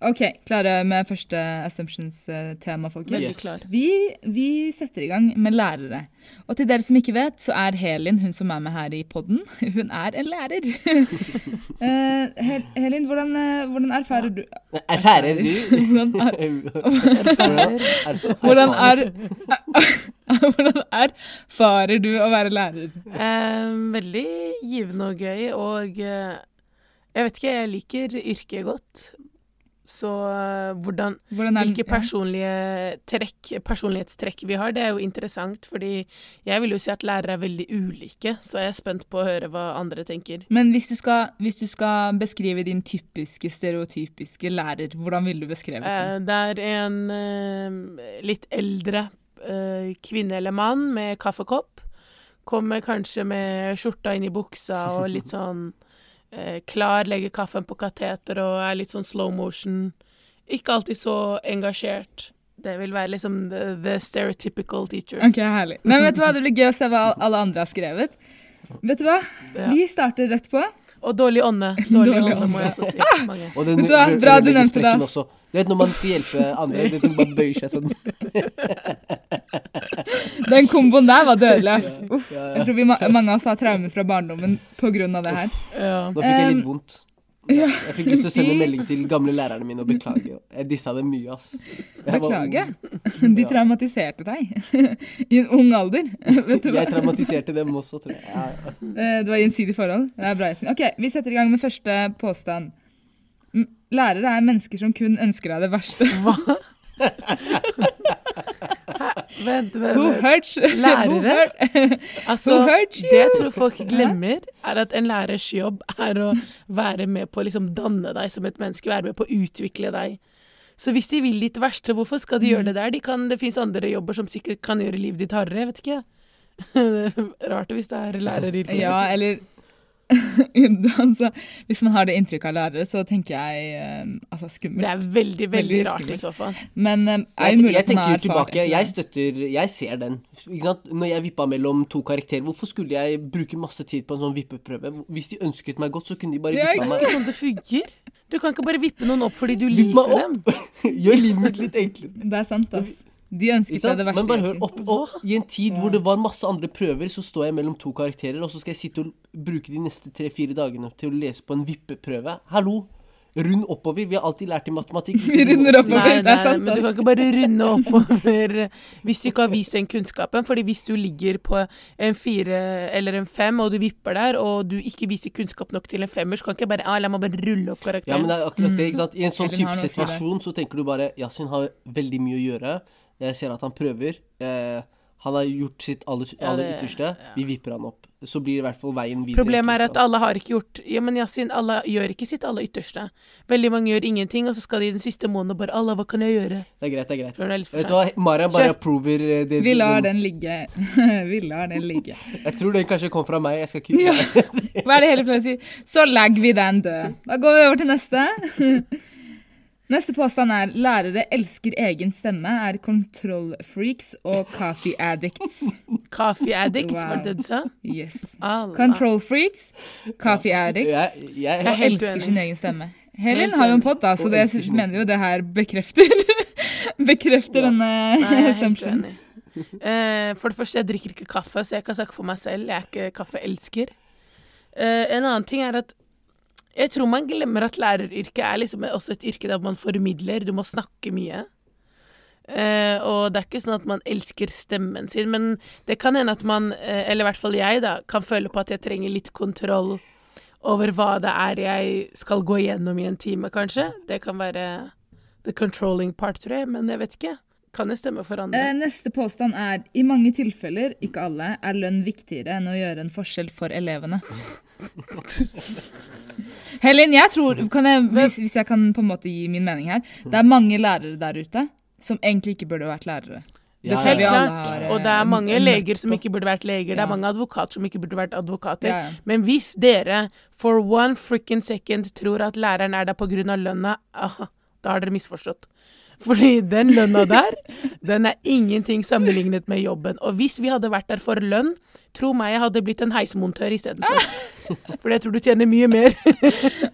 Speaker 1: OK, klare med første assumptions-tema, folkens?
Speaker 3: Veldig
Speaker 2: Yes.
Speaker 3: klar.
Speaker 1: Vi, vi setter i gang med lærere. Og til dere som ikke vet, så er Helin, hun som er med her i podden, hun er en lærer. Eh, Hel Helin, hvordan, eh, hvordan erfarer du
Speaker 2: Erfærer du?
Speaker 1: Hvordan er,
Speaker 2: Erfærer. Erfærer.
Speaker 1: hvordan er Hvordan erfarer du å være lærer?
Speaker 3: Eh, veldig givende og gøy, og eh, jeg vet ikke, jeg liker yrket godt. Så eh, hvordan,
Speaker 1: Hvordan er
Speaker 3: hvilke personlige trekk, personlighetstrekk vi har, det er jo interessant, fordi jeg vil jo si at lærere er veldig ulike, så jeg er spent på å høre hva andre tenker.
Speaker 1: Men hvis du, skal, hvis du skal beskrive din typiske, stereotypiske lærer, hvordan ville du beskrevet den?
Speaker 3: Eh, det er en eh, litt eldre eh, kvinne eller mann med kaffekopp. Kommer kanskje med skjorta inn i buksa og litt sånn eh, klar, legger kaffen på kateter og er litt sånn slow motion. Ikke alltid så engasjert. Det vil være liksom the, the stereotypical teacher.
Speaker 1: Ok, herlig. Men vet du hva, det blir gøy å se hva alle andre har skrevet. Vet du hva?
Speaker 3: Ja.
Speaker 1: Vi starter rett på.
Speaker 3: Og dårlig ånde. Dårlig
Speaker 1: Dårlig
Speaker 3: ånde, må
Speaker 1: ånde. Ah!
Speaker 3: jeg også si. Mange.
Speaker 2: Og den
Speaker 1: Vet du hva? Bra du
Speaker 2: rø-
Speaker 1: nevnte det,
Speaker 2: rørleggersprekken
Speaker 1: ass.
Speaker 2: også. Du vet når man skal hjelpe andre, du vet, man bare bøyer seg sånn.
Speaker 1: Den komboen der var dødelig, ass.
Speaker 2: Ja,
Speaker 1: Uff.
Speaker 2: ja, ja.
Speaker 1: Jeg tror vi, ma- mange av oss har traumer fra barndommen pga. det her.
Speaker 3: Ja.
Speaker 2: Nå fikk jeg litt
Speaker 1: Um,
Speaker 2: vondt.
Speaker 1: ja,
Speaker 2: jeg fikk lyst til å sende
Speaker 1: de-
Speaker 2: melding til gamle lærerne mine og beklage. Jeg dissa dem mye, ass. Jeg var ung.
Speaker 1: Beklage. De
Speaker 2: Ja.
Speaker 1: traumatiserte deg i en ung alder. Vet du hva?
Speaker 2: Jeg traumatiserte dem også, tror jeg. Ja.
Speaker 1: Eh, Det var gjensidig forhold. Det er bra, Yasin. Ok, Vi setter i gang med første påstand. Mm, Lærere er mennesker som kun ønsker deg det verste.
Speaker 3: Vent, vent,
Speaker 1: Who
Speaker 3: vent.
Speaker 1: hurts? Who
Speaker 3: Lærere?
Speaker 1: hurt?
Speaker 3: Altså,
Speaker 1: Who hurt you?
Speaker 3: det jeg tror folk glemmer, er at en lærers jobb er å være med på å liksom danne deg som et menneske, være med på å utvikle deg. Så hvis de vil ditt verste, hvorfor skal de
Speaker 1: Mm.
Speaker 3: gjøre det der? De kan, det fins andre jobber som sikkert kan gjøre livet ditt hardere, jeg vet ikke. Det er Rart hvis det er læreryrket.
Speaker 1: Ja, eller altså, Hvis man har det inntrykket av lærere, så tenker jeg eh, altså,
Speaker 3: Det
Speaker 1: skummelt.
Speaker 3: er veldig, veldig
Speaker 1: Veldig
Speaker 3: rart i
Speaker 1: skummelt.
Speaker 3: så fall.
Speaker 1: Men eh, er
Speaker 2: Jeg,
Speaker 1: jo
Speaker 2: te-
Speaker 1: mulig
Speaker 2: jeg
Speaker 1: at man
Speaker 2: tenker
Speaker 1: har
Speaker 2: jo
Speaker 1: erfart
Speaker 2: tilbake.
Speaker 1: etter
Speaker 2: Jeg
Speaker 1: det.
Speaker 2: støtter Jeg ser den. Ikke sant? Når jeg vippa mellom to karakterer, hvorfor skulle jeg bruke masse tid på en sånn vippeprøve? Hvis de ønsket meg godt, så kunne de bare
Speaker 1: Ja,
Speaker 2: vippa
Speaker 1: ikke
Speaker 2: meg.
Speaker 3: Det er sånn det fungerer. Du kan ikke bare vippe noen opp fordi du
Speaker 2: Vipp meg
Speaker 3: liker
Speaker 2: opp.
Speaker 3: dem.
Speaker 2: Gjør livet mitt litt enklere.
Speaker 1: Det er sant, ass. De ønsket
Speaker 2: Ikke
Speaker 1: seg
Speaker 2: sant?
Speaker 1: det verste.
Speaker 2: Men bare hør
Speaker 1: Yasin.
Speaker 2: opp, og I en tid hvor det var masse andre prøver, så står jeg mellom to karakterer, og så skal jeg sitte og bruke de neste tre-fire dagene til å lese på en vippeprøve. Hallo! Rund oppover. Vi har alltid lært i matematikk.
Speaker 1: Vi runder oppover.
Speaker 3: Nei,
Speaker 1: det
Speaker 3: nei,
Speaker 1: er sant.
Speaker 3: men du
Speaker 1: ass.
Speaker 3: kan ikke bare runde oppover eh, hvis du ikke har vist den kunnskapen. Fordi hvis du ligger på en fire eller en fem, og du vipper der, og du ikke viser kunnskap nok til en femmer, så kan ikke bare ah, la meg bare rulle opp
Speaker 2: Ja, men
Speaker 3: karakteren.
Speaker 2: det er akkurat det, ikke sant? I en sånn
Speaker 1: Eller
Speaker 2: type
Speaker 1: har noe å si der.
Speaker 2: situasjon så tenker du bare Yasin har veldig mye å gjøre. Jeg ser at han prøver. Eh, han har gjort sitt aller, aller
Speaker 3: det-
Speaker 2: ytterste. Vi vipper han opp. Så blir i hvert fall veien videre.
Speaker 3: Problemet er
Speaker 2: til-
Speaker 3: at alle har ikke gjort Ja, men Yasin, alle gjør ikke sitt aller ytterste. Veldig mange gjør ingenting, og så skal de den siste måneden bare Allah, hva kan jeg gjøre?
Speaker 2: Det er greit, det er greit.
Speaker 3: Tror det er litt for
Speaker 2: Vet du hva, Mariam
Speaker 3: Kjør.
Speaker 2: bare approver eh, det.
Speaker 1: Vi lar den ligge. Vi lar den ligge.
Speaker 2: Jeg tror den kanskje kom fra meg. Jeg skal ikke
Speaker 1: Ja. Hva er det hele pleier å si? Så legger vi den død. Da går vi over til neste. Neste påstand er lærere elsker egen stemme, er kontrollfreaks og coffee addicts.
Speaker 3: Coffee addicts,
Speaker 1: Wow.
Speaker 3: var det det du sa?
Speaker 1: Yes.
Speaker 3: Allah.
Speaker 1: Control freaks, coffee addicts,
Speaker 2: Jeg, jeg,
Speaker 3: Jeg er helt
Speaker 1: elsker
Speaker 3: uenig.
Speaker 1: sin egen stemme.
Speaker 3: Helt
Speaker 1: Helen har jo en
Speaker 3: enig.
Speaker 1: pod, da, så
Speaker 2: Og
Speaker 1: det
Speaker 2: elsker sin egen
Speaker 1: mener jo det her bekrefter Bekrefter
Speaker 2: Ja.
Speaker 3: Nei,
Speaker 1: denne
Speaker 3: jeg er helt
Speaker 1: assumption.
Speaker 3: uenig. Eh, for det første, jeg drikker ikke kaffe, så jeg kan snakke for meg selv. Jeg er ikke kaffeelsker. Eh, en annen ting er at jeg tror man glemmer at læreryrket er liksom også et yrke der man formidler, du må snakke mye. Eh, og det er ikke sånn at man elsker stemmen sin, men det kan hende at man, eh, eller i hvert fall jeg, da, kan føle på at jeg trenger litt kontroll over hva det er jeg skal gå gjennom i en time, kanskje. Det kan være the controlling part, tror jeg, men jeg vet ikke. Kan jo stemme for andre.
Speaker 1: Eh, Neste påstand er i mange tilfeller, ikke alle, er lønn viktigere enn å gjøre en forskjell for elevene. Helen, jeg tror,
Speaker 2: Mm.
Speaker 1: kan jeg, hvis, hvis jeg kan på en måte gi min mening her Det er mange lærere der ute som egentlig ikke burde vært lærere.
Speaker 2: Ja,
Speaker 1: tror
Speaker 3: Helt
Speaker 1: vi
Speaker 2: ja, ja.
Speaker 1: alle
Speaker 3: klart.
Speaker 1: har, eh,
Speaker 3: Og det er mange
Speaker 1: en- en
Speaker 3: leger
Speaker 1: nøtt
Speaker 3: som
Speaker 1: på.
Speaker 3: ikke burde vært leger. Det
Speaker 1: Ja.
Speaker 3: er mange advokater som ikke burde vært advokater.
Speaker 1: Ja, ja.
Speaker 3: Men hvis dere for one freaking second tror at læreren er der pga. lønna, aha, da har dere misforstått. Fordi den lønna der, den er ingenting sammenlignet med jobben. Og hvis vi hadde vært der for lønn, tro meg jeg hadde blitt en heismontør istedenfor. Fordi jeg tror du tjener mye mer.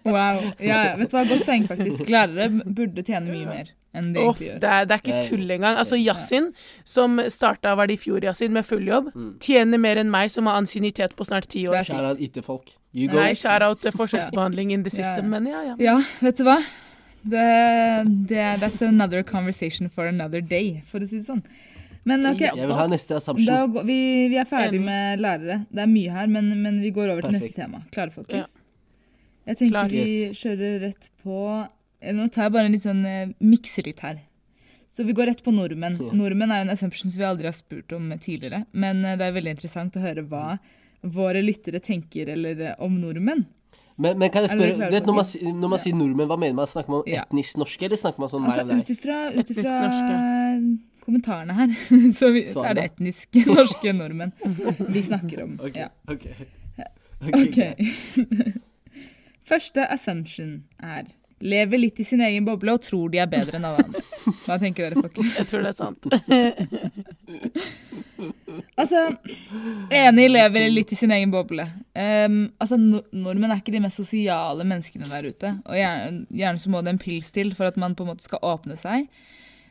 Speaker 1: Wow. Ja, ja, vet du hva, godt poeng, faktisk. Lærere burde tjene mye mer enn de
Speaker 3: Off,
Speaker 1: egentlig gjør.
Speaker 3: det, er, det er ikke
Speaker 2: Jeg-
Speaker 3: tull engang. Altså Yasin, som starta var det i fjor, Yasin, med full jobb, tjener mer enn meg, som har ansiennitet på snart ti år.
Speaker 1: Mm. Det er
Speaker 2: Kjære IT-folk. You go.
Speaker 3: Nei, shout-out til forskjellsbehandling in the
Speaker 1: Ja, ja.
Speaker 3: system, men ja, ja.
Speaker 1: Ja, vet du hva? Det, det, that's another conversation for another day, for å si det sånn. Men ok,
Speaker 2: Jeg vil ha neste
Speaker 1: Da
Speaker 2: assumption.
Speaker 1: går, vi, vi er ferdig
Speaker 3: Enig.
Speaker 1: med lærere. Det er mye her, men, men vi går over til neste
Speaker 2: Perfekt.
Speaker 1: tema. Klare,
Speaker 3: Ja.
Speaker 1: folkens? Jeg tenker
Speaker 3: Klar.
Speaker 1: vi
Speaker 2: Yes.
Speaker 1: kjører rett på eh, Nå tar jeg bare en litt sånn eh, mikser litt her. Så vi går rett på nordmenn. Nordmenn er jo en assumption som vi aldri har spurt om tidligere. Men eh, det er veldig interessant å høre hva våre lyttere tenker eller eh, om nordmenn.
Speaker 2: Men, men kan jeg
Speaker 1: Er dere
Speaker 2: spørre,
Speaker 1: klare
Speaker 2: du vet,
Speaker 1: på
Speaker 2: når man,
Speaker 1: det?
Speaker 2: si- når man sier nordmenn, hva mener man? Snakker man om
Speaker 1: Ja.
Speaker 2: etnisk norske, eller snakker man sånn meg og
Speaker 1: Altså
Speaker 2: deg?
Speaker 1: ut ifra ut
Speaker 3: Etnisk
Speaker 1: ifra
Speaker 3: norske.
Speaker 1: kommentarene her, så, vi, så er det etnisk norske nordmenn vi snakker om.
Speaker 2: Ok,
Speaker 1: Ja.
Speaker 2: ok.
Speaker 1: Ok. Første assumption er lever litt i sin egen boble og tror de er bedre enn alle andre. Hva tenker dere, folkens?
Speaker 3: Jeg tror det er sant.
Speaker 1: Altså, enig lever litt i sin egen boble. Ehm, altså, no Nordmenn er ikke de mest sosiale menneskene der ute. Og gjerne, gjerne så må det en pils til for at man på en måte skal åpne seg.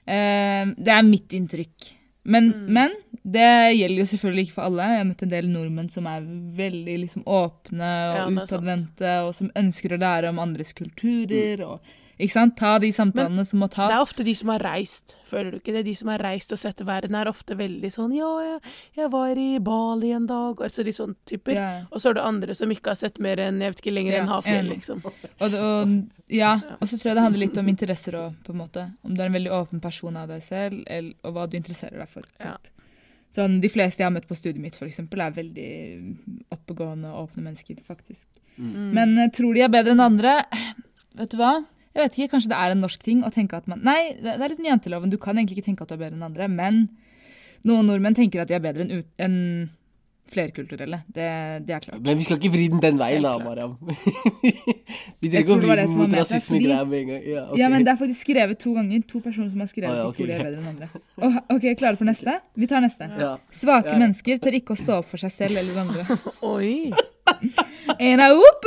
Speaker 1: Ehm, det er mitt inntrykk. Men,
Speaker 3: Mm.
Speaker 1: men det gjelder jo selvfølgelig ikke for alle. Jeg har møtt en del nordmenn som er veldig liksom, åpne og
Speaker 3: Ja, det er sant.
Speaker 1: utadvendte, og som ønsker å lære om andres kulturer. Og, ikke sant? Ta de samtalene som må tas.
Speaker 3: Mm. Det er ofte de som har reist, føler du ikke det? De som har reist og sett verden, er ofte veldig sånn Ja, jeg, jeg var i Bali en dag Altså de sånne typer.
Speaker 1: Ja.
Speaker 3: Og så er det andre som ikke har sett mer enn jeg vet ikke lenger
Speaker 1: Ja,
Speaker 3: enn havfjell,
Speaker 1: enig.
Speaker 3: liksom.
Speaker 1: Og, og, ja, og så tror jeg det handler litt om interesser òg, på en måte. Om du er en veldig åpen person av deg selv, eller, og hva du interesserer deg for. typ.
Speaker 3: Ja.
Speaker 1: Sånn, de fleste jeg har møtt på studiet mitt, for eksempel, er veldig oppegående og åpne mennesker, faktisk. Men eh, tror de er bedre enn andre? Vet du hva? Jeg vet ikke, Kanskje det er en norsk ting å tenke at man Nei, det det er litt sånn janteloven. Du kan egentlig ikke tenke at du er bedre enn andre, men noen nordmenn tenker at de er bedre enn ut- enn flerkulturelle. Det, det er klart.
Speaker 2: Men vi skal ikke vri den den
Speaker 1: Helt
Speaker 2: veien, da,
Speaker 1: klart.
Speaker 2: Mariam. vi trenger
Speaker 1: Jeg
Speaker 2: ikke
Speaker 1: tror det
Speaker 2: å vri
Speaker 1: var det
Speaker 2: den
Speaker 1: som var
Speaker 2: mot
Speaker 1: ment,
Speaker 2: rasismegreia med en gang. Ja, ok.
Speaker 1: Ja, men det er faktisk skrevet to ganger. To personer som har skrevet
Speaker 2: Å, ja,
Speaker 1: at de
Speaker 2: ok,
Speaker 1: tror de er
Speaker 2: greit.
Speaker 1: bedre enn andre. Å, ok, Klare for neste? Vi tar neste.
Speaker 2: ja.
Speaker 1: Svake
Speaker 2: Ja.
Speaker 1: mennesker tør ikke å stå opp for seg selv eller andre.
Speaker 3: Oi!
Speaker 1: Ena opp!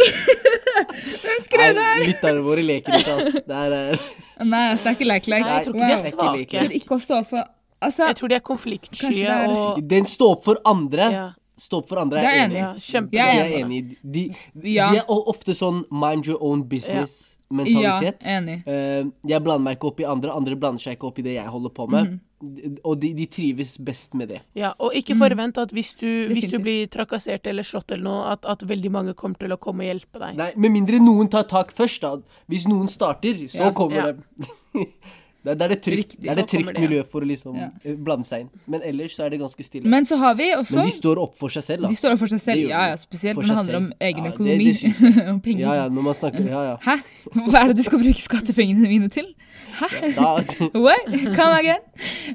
Speaker 1: Hvem skrev det?
Speaker 2: Nei, Lytterne våre leker ikke, altså. Det er, eh,
Speaker 1: Nei, altså, det er ikke leik-leik.
Speaker 3: Nei, jeg tror ikke de er
Speaker 2: Wow.
Speaker 3: svake.
Speaker 1: Tør ikke å stå opp for Altså,
Speaker 3: Jeg tror de er
Speaker 1: Kanskje det
Speaker 3: konfliktskye
Speaker 1: er-
Speaker 3: og
Speaker 2: den stå opp for andre.
Speaker 3: ja,
Speaker 2: Stå opp for andre
Speaker 1: Det
Speaker 2: er
Speaker 1: er
Speaker 2: jeg
Speaker 1: enig.
Speaker 2: enig.
Speaker 3: ja,
Speaker 2: De
Speaker 1: Jeg
Speaker 3: kjempebra.
Speaker 1: er
Speaker 2: er enig. i- De, de
Speaker 1: Ja.
Speaker 2: er o- ofte sånn mind your own
Speaker 1: ja,
Speaker 2: business-mentalitet.
Speaker 1: enig.
Speaker 2: Eh, jeg blander meg ikke opp i andre, andre blander seg ikke opp i det jeg holder på
Speaker 1: Mhm.
Speaker 2: med. D- Og de, de trives best med det.
Speaker 3: Ja, og ikke forvent at hvis du, hvis du
Speaker 1: Mm. Definitivt.
Speaker 3: blir trakassert eller slått eller noe, at, at veldig mange kommer til å komme og hjelpe deg.
Speaker 2: Nei, Med mindre noen tar tak først, da. Hvis noen starter, så
Speaker 1: Ja.
Speaker 2: kommer
Speaker 3: Ja.
Speaker 2: det. det. Det er et trygt,
Speaker 1: Riktig,
Speaker 2: det er
Speaker 3: så
Speaker 2: et trygt
Speaker 3: kommer det, ja.
Speaker 2: miljø for å liksom
Speaker 1: Ja.
Speaker 2: eh, blande seg inn. Men ellers så er det ganske stille. Men,
Speaker 1: Men så har vi også
Speaker 2: de står opp for seg selv, da.
Speaker 1: De står opp for seg
Speaker 2: Det
Speaker 1: selv.
Speaker 2: gjør
Speaker 1: Ja,
Speaker 2: de.
Speaker 1: ja, spesielt
Speaker 2: For
Speaker 1: når det
Speaker 2: seg
Speaker 1: handler om
Speaker 2: selv.
Speaker 1: egen
Speaker 2: Ja, det-
Speaker 1: økonomi
Speaker 2: det synes
Speaker 1: og penger.
Speaker 2: Ja ja, når man snakker Ja ja.
Speaker 1: Hæ? Hva er det du skal bruke skattepengene mine til? Hæ?
Speaker 2: Da,
Speaker 1: What? Come again?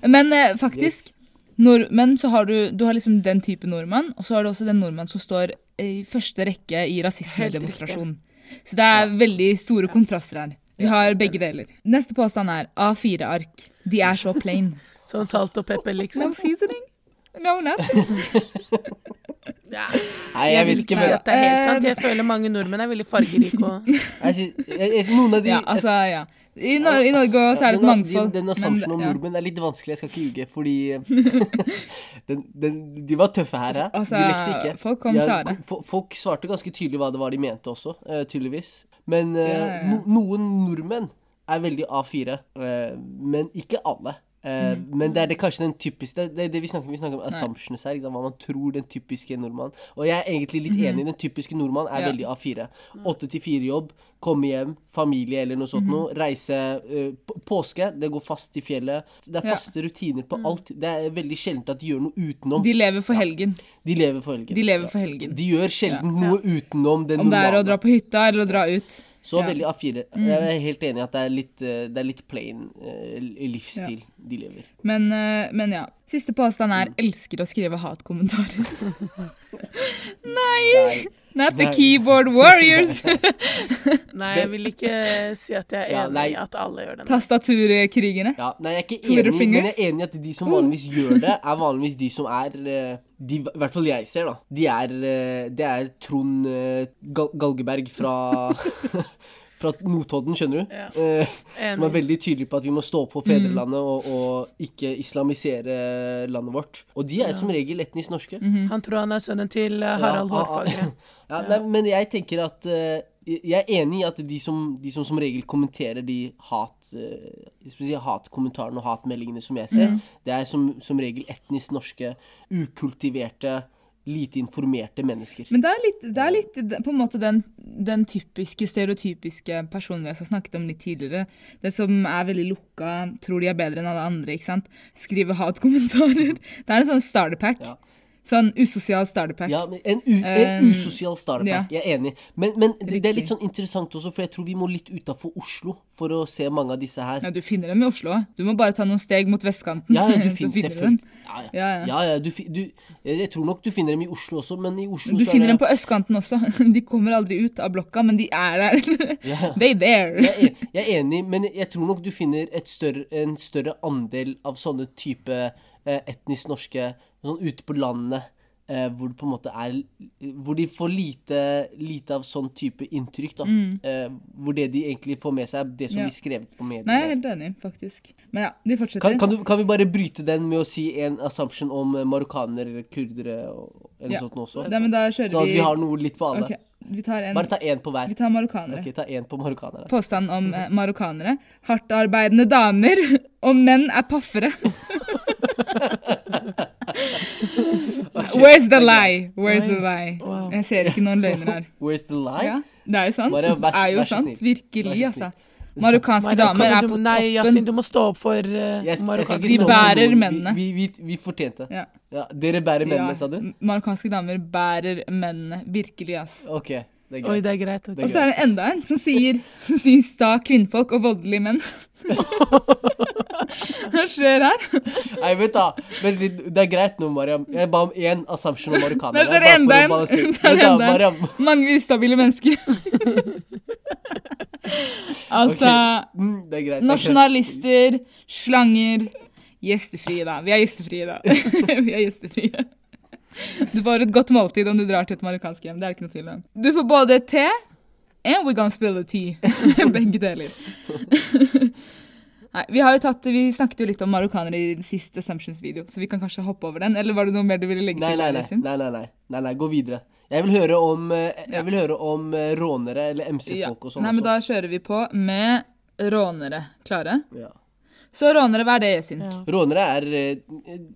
Speaker 1: Men eh, faktisk, nordmenn så har du, du har liksom den type nordmann, og så har du også den nordmann som står i første rekke i rasismedemonstrasjon. Så det er veldig store kontraster her. Vi har begge deler. Neste påstand er A4-ark. De er så plain.
Speaker 3: Sånn salt og pepper, liksom.
Speaker 1: No seasoning. No, nothing.
Speaker 3: Ja.
Speaker 2: nei,
Speaker 3: Jeg
Speaker 2: jeg
Speaker 3: vil
Speaker 2: vet
Speaker 3: ikke
Speaker 2: ikke.
Speaker 3: si
Speaker 2: Men,
Speaker 3: at det er helt sant. Jeg føler mange nordmenn er veldig fargerike og
Speaker 2: jeg, synes- jeg, jeg, noen av de
Speaker 1: Ja, altså, ja. I, Nor I Norge også er det et
Speaker 2: den-
Speaker 1: mangfold.
Speaker 2: Den,
Speaker 1: men
Speaker 2: den
Speaker 1: det-
Speaker 2: assumptionen om
Speaker 1: ja.
Speaker 2: nordmenn er litt vanskelig, jeg skal ikke ljuge, fordi eh, den, den, De var tøffe her, hæ?
Speaker 1: Altså,
Speaker 2: de lekte ikke.
Speaker 1: folk kom klare.
Speaker 2: fo- folk svarte ganske tydelig hva det var de mente også, eh, tydeligvis. Men eh,
Speaker 1: Ja, ja, ja.
Speaker 2: No, noen nordmenn er veldig A4, eh, men ikke alle. Eh,
Speaker 1: Mm.
Speaker 2: Men det er det kanskje den typiske Det, det, det vi, snakker, vi snakker om assumptions her. Ikke sant? Hva man tror den typiske nordmann Og jeg er egentlig litt enig. Den typiske nordmann er
Speaker 1: Mhm. Ja. Mm.
Speaker 2: veldig A4. Åtte til fire-jobb, komme hjem, familie eller noe sånt
Speaker 1: Mhm.
Speaker 2: noe. Reise eh, på- Påske, det går fast i fjellet. Det er
Speaker 1: Ja. Mm.
Speaker 2: faste rutiner på alt. Det er veldig sjelden at de gjør noe utenom.
Speaker 1: De lever for helgen.
Speaker 2: De lever for helgen.
Speaker 1: De lever for helgen.
Speaker 2: De gjør sjelden noe utenom det
Speaker 1: Om det er å
Speaker 2: normale.
Speaker 1: dra på hytta eller å dra ut.
Speaker 2: Så
Speaker 1: Ja.
Speaker 2: veldig A4. Jeg er helt enig i at det er litt, eh, det er litt plain eh, livsstil de lever.
Speaker 1: Men, eh, men ja. Siste påstand er 'elsker å skrive hatkommentarer'.
Speaker 2: Nei.
Speaker 1: Not the
Speaker 2: Nei.
Speaker 1: keyboard warriors!
Speaker 3: Nei, jeg vil ikke si at jeg
Speaker 2: Ja,
Speaker 3: er enig
Speaker 2: nei.
Speaker 3: i at alle gjør det.
Speaker 1: Tastaturkrigerne.
Speaker 2: Ja, nei, jeg er ikke
Speaker 1: Twitter
Speaker 2: enig, men jeg
Speaker 1: fingers?
Speaker 2: er enig i at de som vanligvis gjør det, er vanligvis de som er eh, de, I hvert fall jeg ser, da. De er, eh, det er Trond eh, Gal Galgeberg fra, fra Notodden, skjønner du?
Speaker 3: Ja.
Speaker 2: Eh, som er
Speaker 3: Enig.
Speaker 2: veldig tydelig på at vi må stå opp for fedrelandet og, og ikke islamisere landet vårt. Og de er som regel etnisk norske.
Speaker 1: Mhm.
Speaker 3: Han tror han er sønnen til eh, Harald
Speaker 2: Ja, ah, ah.
Speaker 3: Hårfagre.
Speaker 2: Ja, nei, men jeg tenker at eh, Jeg er enig i at de som, de som som regel kommenterer de hat, eh, jeg skulle si hatkommentarene og hatmeldingene som jeg
Speaker 1: Mm.
Speaker 2: ser, det er som, som regel etnisk norske, ukultiverte, lite informerte mennesker.
Speaker 1: Men det er litt, det er litt d- på en måte den, den typiske, stereotypiske personen vi har snakket om litt tidligere. Det som er veldig lukka, tror de er bedre enn alle andre, ikke sant. Skriver hatkommentarer. Det er en sånn starterpack.
Speaker 2: Ja.
Speaker 1: Sånn usosial starterpack.
Speaker 2: Ja, men en, u, en
Speaker 1: Um,
Speaker 2: usosial startup. Jeg er enig. Men, men det det er litt sånn interessant også, for jeg tror vi må litt utafor Oslo for å se mange av disse her.
Speaker 1: Ja, du finner dem i Oslo. Du må bare ta noen steg mot vestkanten.
Speaker 2: Ja, ja, du
Speaker 1: så
Speaker 2: finner
Speaker 1: du
Speaker 2: selvfølgelig
Speaker 1: dem.
Speaker 2: ja, ja.
Speaker 1: Ja, ja.
Speaker 2: ja, ja du, fi- du, jeg jeg tror nok du finner dem i Oslo også, men i Oslo
Speaker 1: Du
Speaker 2: så er
Speaker 1: finner
Speaker 2: det-
Speaker 1: dem på østkanten også. De kommer aldri ut av blokka, men de er der.
Speaker 2: Ja.
Speaker 1: They there.
Speaker 2: jeg, er, jeg er enig, men jeg tror nok du finner et større, en større andel av sånne type eh, etnisk norske sånn ute på landet. eh, hvor det på en måte er Hvor de får lite, lite av sånn type inntrykk, da. Eh, hvor det de egentlig får med seg, er det som
Speaker 1: Mm. Ja.
Speaker 2: blir skrevet på mediene.
Speaker 1: Nei, jeg er helt enig, faktisk. Men ja, de fortsetter.
Speaker 2: Kan, kan, du, kan vi bare bryte den med å si en assumption om eh, marokkanere, kurdere og en
Speaker 1: Ja.
Speaker 2: sånt nå også?
Speaker 1: Nei, men da kjører
Speaker 2: Sånn at
Speaker 1: vi
Speaker 2: vi har noe litt på alle.
Speaker 1: Ok, vi tar en
Speaker 2: Bare ta én på hver.
Speaker 1: Vi tar marokkanere.
Speaker 2: Ok, ta én på marokkanerne.
Speaker 1: Påstand om eh, marokkanere. Hardtarbeidende damer og menn er paffere. Where's the lie? Where's the lie?
Speaker 3: Wow.
Speaker 1: Jeg ser ikke noen løgner her.
Speaker 2: Where's the lie?
Speaker 1: Ja, det er jo sant.
Speaker 2: Bare vær
Speaker 1: Det
Speaker 2: så-
Speaker 1: er
Speaker 2: vær
Speaker 1: jo
Speaker 2: så
Speaker 1: sant.
Speaker 2: snill.
Speaker 1: Virkelig,
Speaker 2: Vær så
Speaker 1: altså. Marokkanske damer er på
Speaker 3: Nei, Yasin,
Speaker 1: toppen.
Speaker 3: du må stå opp for uh,
Speaker 2: Jeg- jeg skal ikke
Speaker 1: Vi
Speaker 2: stå
Speaker 3: marokkanske
Speaker 2: for
Speaker 1: bærer
Speaker 2: noen. Vi-
Speaker 1: mennene.
Speaker 2: Vi, vi, vi fortjente.
Speaker 1: Ja.
Speaker 2: Ja, dere bærer mennene, sa du?
Speaker 1: Ja, Marokkanske damer bærer mennene. Virkelig, ass.
Speaker 2: Ok, det er
Speaker 3: Oi,
Speaker 2: greit.
Speaker 3: det er greit. ok.
Speaker 1: Og så er det enda en som sier, som sier sta kvinnfolk og voldelige menn. Hva skjer her?
Speaker 2: Nei, vent da. Vent litt, det er greit nå, Mariam. Jeg ba om én assumption om
Speaker 1: Nei, så
Speaker 2: marokkanere.
Speaker 1: er det
Speaker 2: bare for
Speaker 1: enda
Speaker 2: å
Speaker 1: en.
Speaker 2: balansere.
Speaker 1: Så er det
Speaker 2: Vent da,
Speaker 1: enda en.
Speaker 2: Mariam.
Speaker 1: Mange ustabile mennesker. altså
Speaker 2: Ok, mm, det er greit.
Speaker 1: Nasjonalister, slanger Gjestefrie, da. Vi er gjestefrie, da. Vi er gjestefrie. Du får et godt måltid om du drar til et marokkansk hjem. Det er det ikke noe tvil om. Du får både te and we're gonna spill the tea. Begge deler. Nei, vi, har jo tatt, vi snakket jo litt om marokkanere i den siste Assumptions-video, så vi kan kanskje hoppe over den. Eller var det noe mer du ville legge
Speaker 2: Nei,
Speaker 1: til?
Speaker 2: nei, nei.
Speaker 1: Alice?
Speaker 2: nei, nei, nei. nei, nei. Gå videre. Jeg vil høre om, eh, jeg vil høre om eh, rånere eller MC-folk og sånn.
Speaker 1: Nei, men
Speaker 2: også.
Speaker 1: da kjører vi på med rånere. Klare?
Speaker 2: Ja.
Speaker 1: Så rånere, hva er det, Yasin?
Speaker 3: Ja.
Speaker 2: Rånere er eh,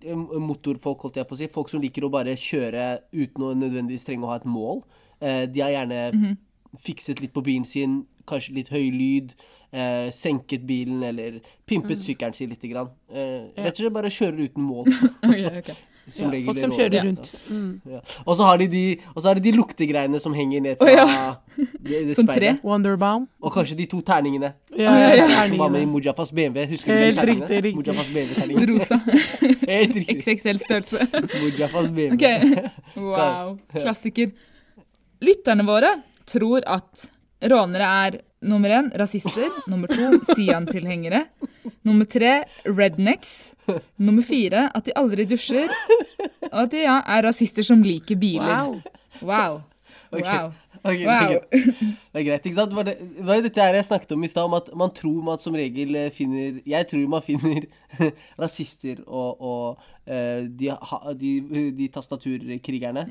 Speaker 2: eh, motorfolk, holdt jeg på å si. Folk som liker å bare kjøre uten å nødvendigvis trenge å ha et mål. Eh, De har gjerne
Speaker 3: Mhm.
Speaker 2: fikset litt på bilen sin, kanskje litt høy lyd, eh, senket bilen eller pimpet
Speaker 3: Mhm.
Speaker 2: sykkelen sin lite grann. Eh, Rett og slett bare kjører uten mål.
Speaker 1: Ok, ok.
Speaker 2: Som regel
Speaker 3: Folk som
Speaker 2: rånere.
Speaker 3: kjører
Speaker 1: Ja.
Speaker 3: rundt. Mm.
Speaker 2: Ja. Og så har de de, og så har de de luktegreiene som henger ned fra
Speaker 1: Å, ja.
Speaker 2: det, det
Speaker 1: Som tre.
Speaker 2: speilet.
Speaker 3: Wonderbaum.
Speaker 2: Og kanskje de to terningene
Speaker 3: Ja,
Speaker 1: ja, ja.
Speaker 2: som var med i Mujafas BMW. Husker du de
Speaker 3: Helt
Speaker 2: terningene?
Speaker 3: riktig, riktig.
Speaker 2: Mujafas BMW-terningene.
Speaker 1: Rosa.
Speaker 2: Helt riktig.
Speaker 1: XXL-størrelse.
Speaker 2: Mujafas BMW.
Speaker 1: Ok, wow. Klassiker. Lytterne våre tror at rånere er nummer én rasister, nummer to Sian-tilhengere, nummer tre rednecks, nummer fire at de aldri dusjer, og at de ja, er rasister som liker biler.
Speaker 3: Wow.
Speaker 1: Wow.
Speaker 2: Ok.
Speaker 1: Wow.
Speaker 2: Ok, det er
Speaker 1: Wow.
Speaker 2: greit. Det er greit, ikke sant? Det var det- det var jo dette her jeg snakket om i stad, om at man tror man som regel eh, finner Jeg tror man finner rasister og, og eh, de, ha- de, de tastaturkrigerne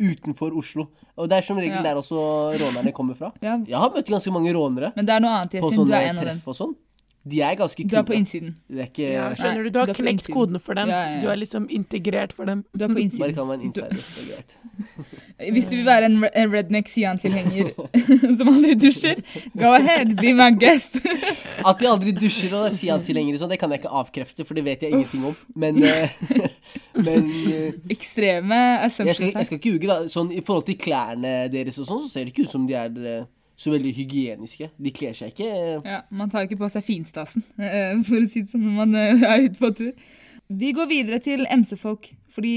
Speaker 2: utenfor Oslo. Og det er som regel
Speaker 1: Ja.
Speaker 2: der også rånerne kommer fra.
Speaker 1: Ja.
Speaker 2: Jeg har møtt ganske mange rånere
Speaker 1: Men det er noe annet,
Speaker 2: på
Speaker 1: Jessin. Du
Speaker 2: sånne
Speaker 1: er en av dem.
Speaker 2: treff og sånn. De er ganske
Speaker 1: Du er på
Speaker 2: kule.
Speaker 1: innsiden.
Speaker 2: Det er ikke
Speaker 3: Ja, skjønner
Speaker 1: Nei,
Speaker 3: du? Du har
Speaker 1: det er på
Speaker 3: knekt
Speaker 1: innsiden.
Speaker 3: kodene for dem.
Speaker 1: Ja, ja, ja.
Speaker 3: Du er liksom integrert for dem.
Speaker 1: Du er på
Speaker 2: Bare
Speaker 1: innsiden.
Speaker 2: kall meg en insider. Det er greit.
Speaker 1: Hvis du vil være en re- en redneck Sian-tilhenger som aldri dusjer, go ahead, be my guest.
Speaker 2: At de aldri dusjer og sier han tilhengere sånn, det kan jeg ikke avkrefte, for det vet jeg ingenting om. Men, eh, men eh,
Speaker 1: Ekstreme
Speaker 2: jeg, skal,
Speaker 1: assumptions
Speaker 2: jeg
Speaker 1: her.
Speaker 2: skal ikke ljuge, da. Sånn, I forhold til klærne deres og sånn, så ser det ikke ut som de er eh, så veldig hygieniske. De kler seg ikke eh,
Speaker 1: Ja, man tar ikke på seg finstasen, eh, for å si det sånn, når man eh, er ute på tur. Vi går videre til MC-folk, fordi,